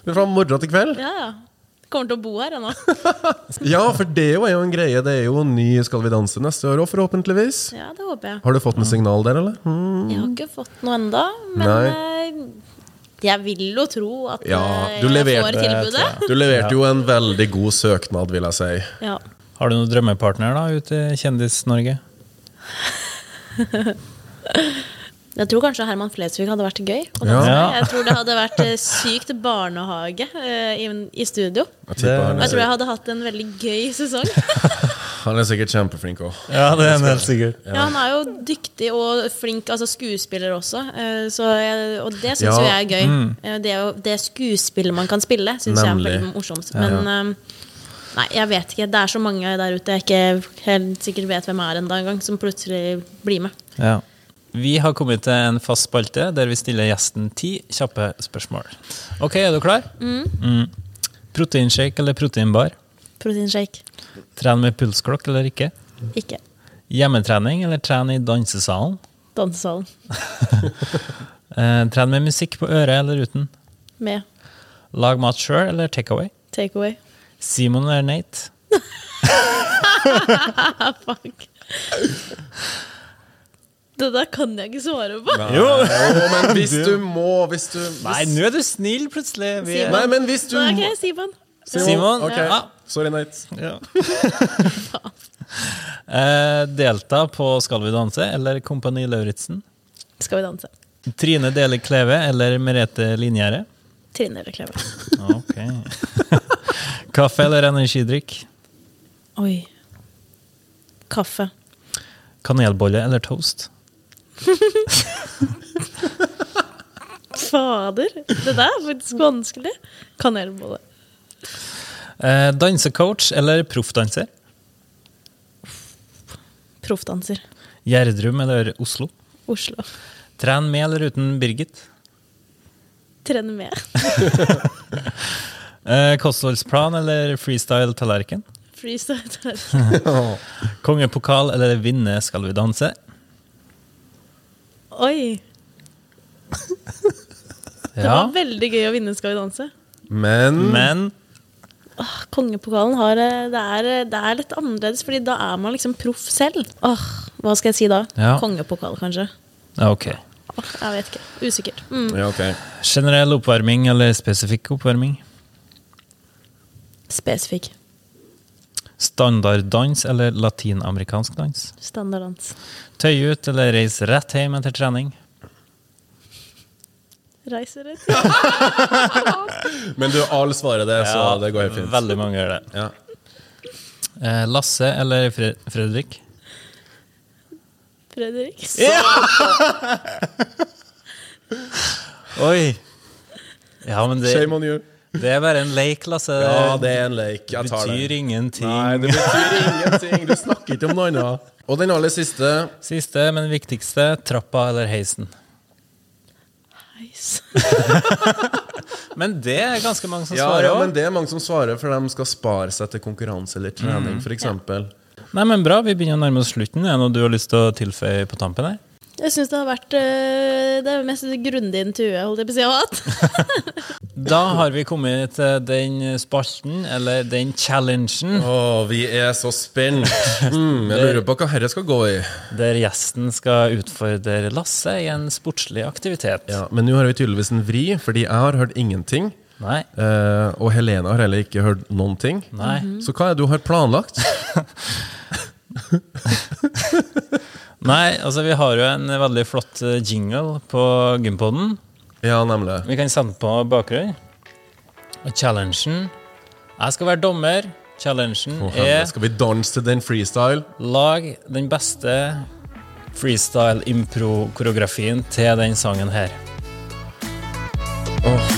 [SPEAKER 4] fra morgen til kveld.
[SPEAKER 2] ja, ja. Kommer til å bo her ennå.
[SPEAKER 4] Ja, for det er jo en greie. Det er jo en ny Skal vi danse neste år òg, forhåpentligvis.
[SPEAKER 2] Ja, det håper jeg.
[SPEAKER 4] Har du fått noe signal der, eller? Mm.
[SPEAKER 2] Jeg har ikke fått noe enda, men eh, jeg vil jo tro at
[SPEAKER 4] Ja,
[SPEAKER 2] eh,
[SPEAKER 4] du
[SPEAKER 2] jeg
[SPEAKER 4] leverte,
[SPEAKER 2] får tilbudet.
[SPEAKER 4] Du leverte jo en veldig god søknad, vil jeg si.
[SPEAKER 2] Ja.
[SPEAKER 3] Har du noen drømmepartner da ute i Kjendis-Norge?
[SPEAKER 2] Jeg tror kanskje Herman Flesvig hadde vært gøy. å danse
[SPEAKER 4] Ja.
[SPEAKER 2] med. Jeg tror det hadde vært eh, sykt barnehage eh, i, i studio.
[SPEAKER 4] Jeg tipper
[SPEAKER 5] Det-
[SPEAKER 4] han,
[SPEAKER 2] Og jeg tror
[SPEAKER 4] er,
[SPEAKER 2] jeg hadde hatt en veldig gøy sesong.
[SPEAKER 4] han er sikkert kjempeflink òg.
[SPEAKER 5] Ja, det er helt sikkert.
[SPEAKER 2] Ja, han er jo dyktig og flink altså skuespiller også, eh, så jeg, og det syns
[SPEAKER 4] Ja.
[SPEAKER 2] jo
[SPEAKER 4] mm.
[SPEAKER 2] jeg er gøy. Eh, Det, er jo det skuespillet man kan spille, syns jeg er
[SPEAKER 4] Nemlig.
[SPEAKER 2] veldig morsomt. Men eh, nei, jeg vet ikke. Det er så mange der ute jeg ikke helt sikkert vet hvem er ennå engang, som plutselig blir med.
[SPEAKER 3] Ja. Vi har kommet til en fast spalte der vi stiller gjesten ti kjappe spørsmål. Ok, er du klar? Mm. Proteinshake eller proteinbar?
[SPEAKER 2] Proteinshake.
[SPEAKER 3] Tren med pulsklokk eller ikke?
[SPEAKER 2] Ikke
[SPEAKER 3] Hjemmetrening eller tren i dansesalen?
[SPEAKER 2] dansesalen.
[SPEAKER 3] Eh, tren med musikk på øret eller uten?
[SPEAKER 2] Med
[SPEAKER 3] Lag mat sjøl eller takeaway?
[SPEAKER 2] takeaway.
[SPEAKER 3] Simon eller Nate?
[SPEAKER 2] Ah, fuck. Det der kan jeg ikke svare på.
[SPEAKER 4] men hvis du må, hvis du
[SPEAKER 3] Nei, nå er du snill, plutselig. Vi er...
[SPEAKER 4] Nei, men hvis du
[SPEAKER 2] Nei,
[SPEAKER 4] må
[SPEAKER 2] ok, Simon.
[SPEAKER 3] Simon.
[SPEAKER 4] Ok,
[SPEAKER 3] Ja.
[SPEAKER 4] Sorry, Nate.
[SPEAKER 3] Ja. eh, delta på Skal vi danse eller Kompani Lauritzen?
[SPEAKER 2] Skal vi danse?
[SPEAKER 3] Trine Dele Kleve eller Merete Linjære?
[SPEAKER 2] Trine eller Kleve?
[SPEAKER 3] Ok. Kaffe eller energidrikk?
[SPEAKER 2] Oi. Kaffe.
[SPEAKER 3] Kanelbolle eller toast?
[SPEAKER 2] Fader, det der er faktisk vanskelig. Kanelbolle.
[SPEAKER 3] Eh, dansecoach eller proffdanser?
[SPEAKER 2] Proffdanser.
[SPEAKER 3] Gjerdrum eller Oslo?
[SPEAKER 2] Oslo.
[SPEAKER 3] Tren med eller uten Birgit?
[SPEAKER 2] Trene med.
[SPEAKER 3] Eh, kostholdsplan eller freestyle-tallerken?
[SPEAKER 2] Freestyle.
[SPEAKER 3] Kongepokal eller vinne Skal vi danse?
[SPEAKER 2] Oi. Det
[SPEAKER 3] Ja,
[SPEAKER 2] var veldig gøy å vinne Skal vi danse.
[SPEAKER 4] Men
[SPEAKER 3] men
[SPEAKER 2] Åh, Kongepokalen har eh, det er, det er litt annerledes, Fordi da er man liksom proff selv. Åh, Hva skal jeg si da?
[SPEAKER 3] Ja.
[SPEAKER 2] Kongepokal, kanskje.
[SPEAKER 3] Ja, Ok.
[SPEAKER 2] Åh, jeg vet ikke. Usikkert. Mm.
[SPEAKER 4] Ja, ok.
[SPEAKER 3] Generell oppvarming eller spesifikk oppvarming?
[SPEAKER 2] Spesifikk.
[SPEAKER 3] Standarddans eller latinamerikansk dans?
[SPEAKER 2] Standarddans.
[SPEAKER 3] Tøye ut eller reise rett hjem etter trening?
[SPEAKER 2] Reiser rett.
[SPEAKER 4] Men du, alle svarer det, så det går helt fint.
[SPEAKER 3] Veldig mange gjør det.
[SPEAKER 4] Ja.
[SPEAKER 3] Eh, Lasse eller Fre Fredrik?
[SPEAKER 2] Fredrik.
[SPEAKER 3] Oi! Ja, men det,
[SPEAKER 4] Shame on you.
[SPEAKER 3] det er bare en leik, Lasse.
[SPEAKER 4] Ja, det er en leik. Jeg tar
[SPEAKER 3] betyr
[SPEAKER 4] det.
[SPEAKER 3] ingenting.
[SPEAKER 4] Nei, det betyr ingenting. Du snakker ikke om noe annet. Og den aller siste
[SPEAKER 3] Siste, men viktigste. Trappa eller heisen?
[SPEAKER 2] Nice.
[SPEAKER 3] Men det er ganske mange som
[SPEAKER 4] ja,
[SPEAKER 3] svarer
[SPEAKER 4] ja,
[SPEAKER 3] òg.
[SPEAKER 4] men Det er mange som svarer, for de skal spare seg til konkurranse eller trening, for f.eks.
[SPEAKER 3] Nei, men bra. Vi begynner å nærme oss slutten. Er det noe du har lyst til å tilføye på tampen her?
[SPEAKER 2] Jeg syns det har vært eh, det mest grundige intervjuet holdt jeg på å si jeg har hatt.
[SPEAKER 3] Da har vi kommet til den spalten, eller den challengen,
[SPEAKER 4] Å, vi er så spent! Mm, jeg lurer på hva dette skal gå i.
[SPEAKER 3] der gjesten skal utfordre Lasse i en sportslig aktivitet.
[SPEAKER 4] Ja, men nå har vi tydeligvis en vri, fordi jeg har hørt ingenting.
[SPEAKER 3] Nei.
[SPEAKER 4] eh, og Helene har heller ikke hørt noen ting.
[SPEAKER 3] Nei.
[SPEAKER 4] Mm. Så hva er det du har planlagt?
[SPEAKER 3] Nei, altså vi har jo en veldig flott eh, jingle på Gympoden.
[SPEAKER 4] Ja, nemlig.
[SPEAKER 3] Vi kan sende på bakgrunn. Og challengen Jeg skal være dommer. Challengen
[SPEAKER 4] Å, helvete,
[SPEAKER 3] er
[SPEAKER 4] Skal vi danse til den freestyle?
[SPEAKER 3] lag den beste freestyle-impro-koreografien til den sangen her.
[SPEAKER 4] Åh,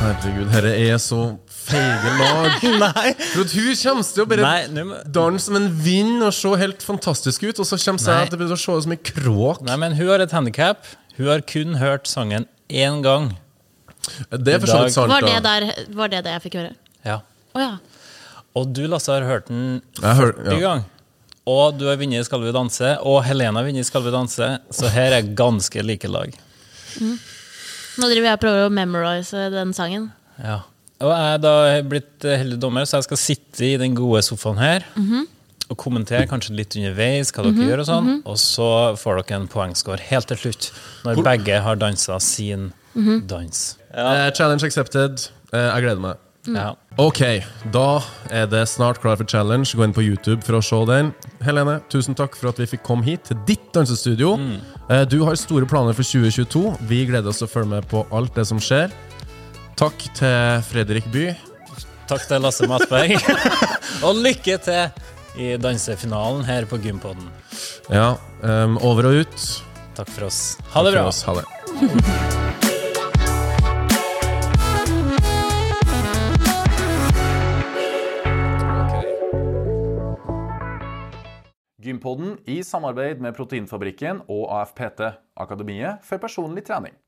[SPEAKER 4] herregud, herre er så feige lag.
[SPEAKER 3] Nei!
[SPEAKER 4] For at hun kommer til å bare
[SPEAKER 3] Nei, nå må-
[SPEAKER 4] danse som en vind og se helt fantastisk ut, og så kommer
[SPEAKER 3] Nei.
[SPEAKER 4] jeg til å se ut som en kråk.
[SPEAKER 3] Nei, men hun har et handikap. Hun har kun hørt sangen én gang.
[SPEAKER 4] Det er for så vidt sant.
[SPEAKER 2] Var det,
[SPEAKER 4] da.
[SPEAKER 2] der, var det det jeg fikk høre?
[SPEAKER 3] Ja.
[SPEAKER 2] Å ja.
[SPEAKER 3] Og du, Lasse, har hørt den
[SPEAKER 4] Jeg har hørt-
[SPEAKER 3] 40
[SPEAKER 4] ja.
[SPEAKER 3] ganger. Og du har vunnet i Skal vi danse, og Helena har vunnet i Skal vi danse, så her er ganske like lag.
[SPEAKER 2] Nå driver jeg og prøver å memorize eh, den sangen.
[SPEAKER 3] Ja. Og jeg er da blitt eh, heldig dommer, så jeg skal sitte i den gode sofaen her og kommentere kanskje litt underveis hva dere gjør, og sånn, og så får dere en poengscore helt til slutt, når begge har dansa sin dans.
[SPEAKER 4] Eh, challenge accepted. Eh, jeg gleder meg.
[SPEAKER 3] Ja.
[SPEAKER 4] Ok, da er det snart klar for challenge. Gå inn på YouTube for å se den. Helene, tusen takk for at vi fikk komme hit til ditt dansestudio.
[SPEAKER 3] Mm.
[SPEAKER 4] Eh, Du har store planer for 2022. Vi gleder oss til å følge med på alt det som skjer. Takk til Fredrik By.
[SPEAKER 3] Takk til Lasse Matberg, og lykke til i dansefinalen her på Gympodden.
[SPEAKER 4] Ja, em, over og ut.
[SPEAKER 3] Takk for oss. Ha det
[SPEAKER 4] For
[SPEAKER 3] bra.
[SPEAKER 4] oss. Ha det.
[SPEAKER 1] Gympodden i samarbeid med Proteinfabrikken og AFPT, Akademiet for personlig trening.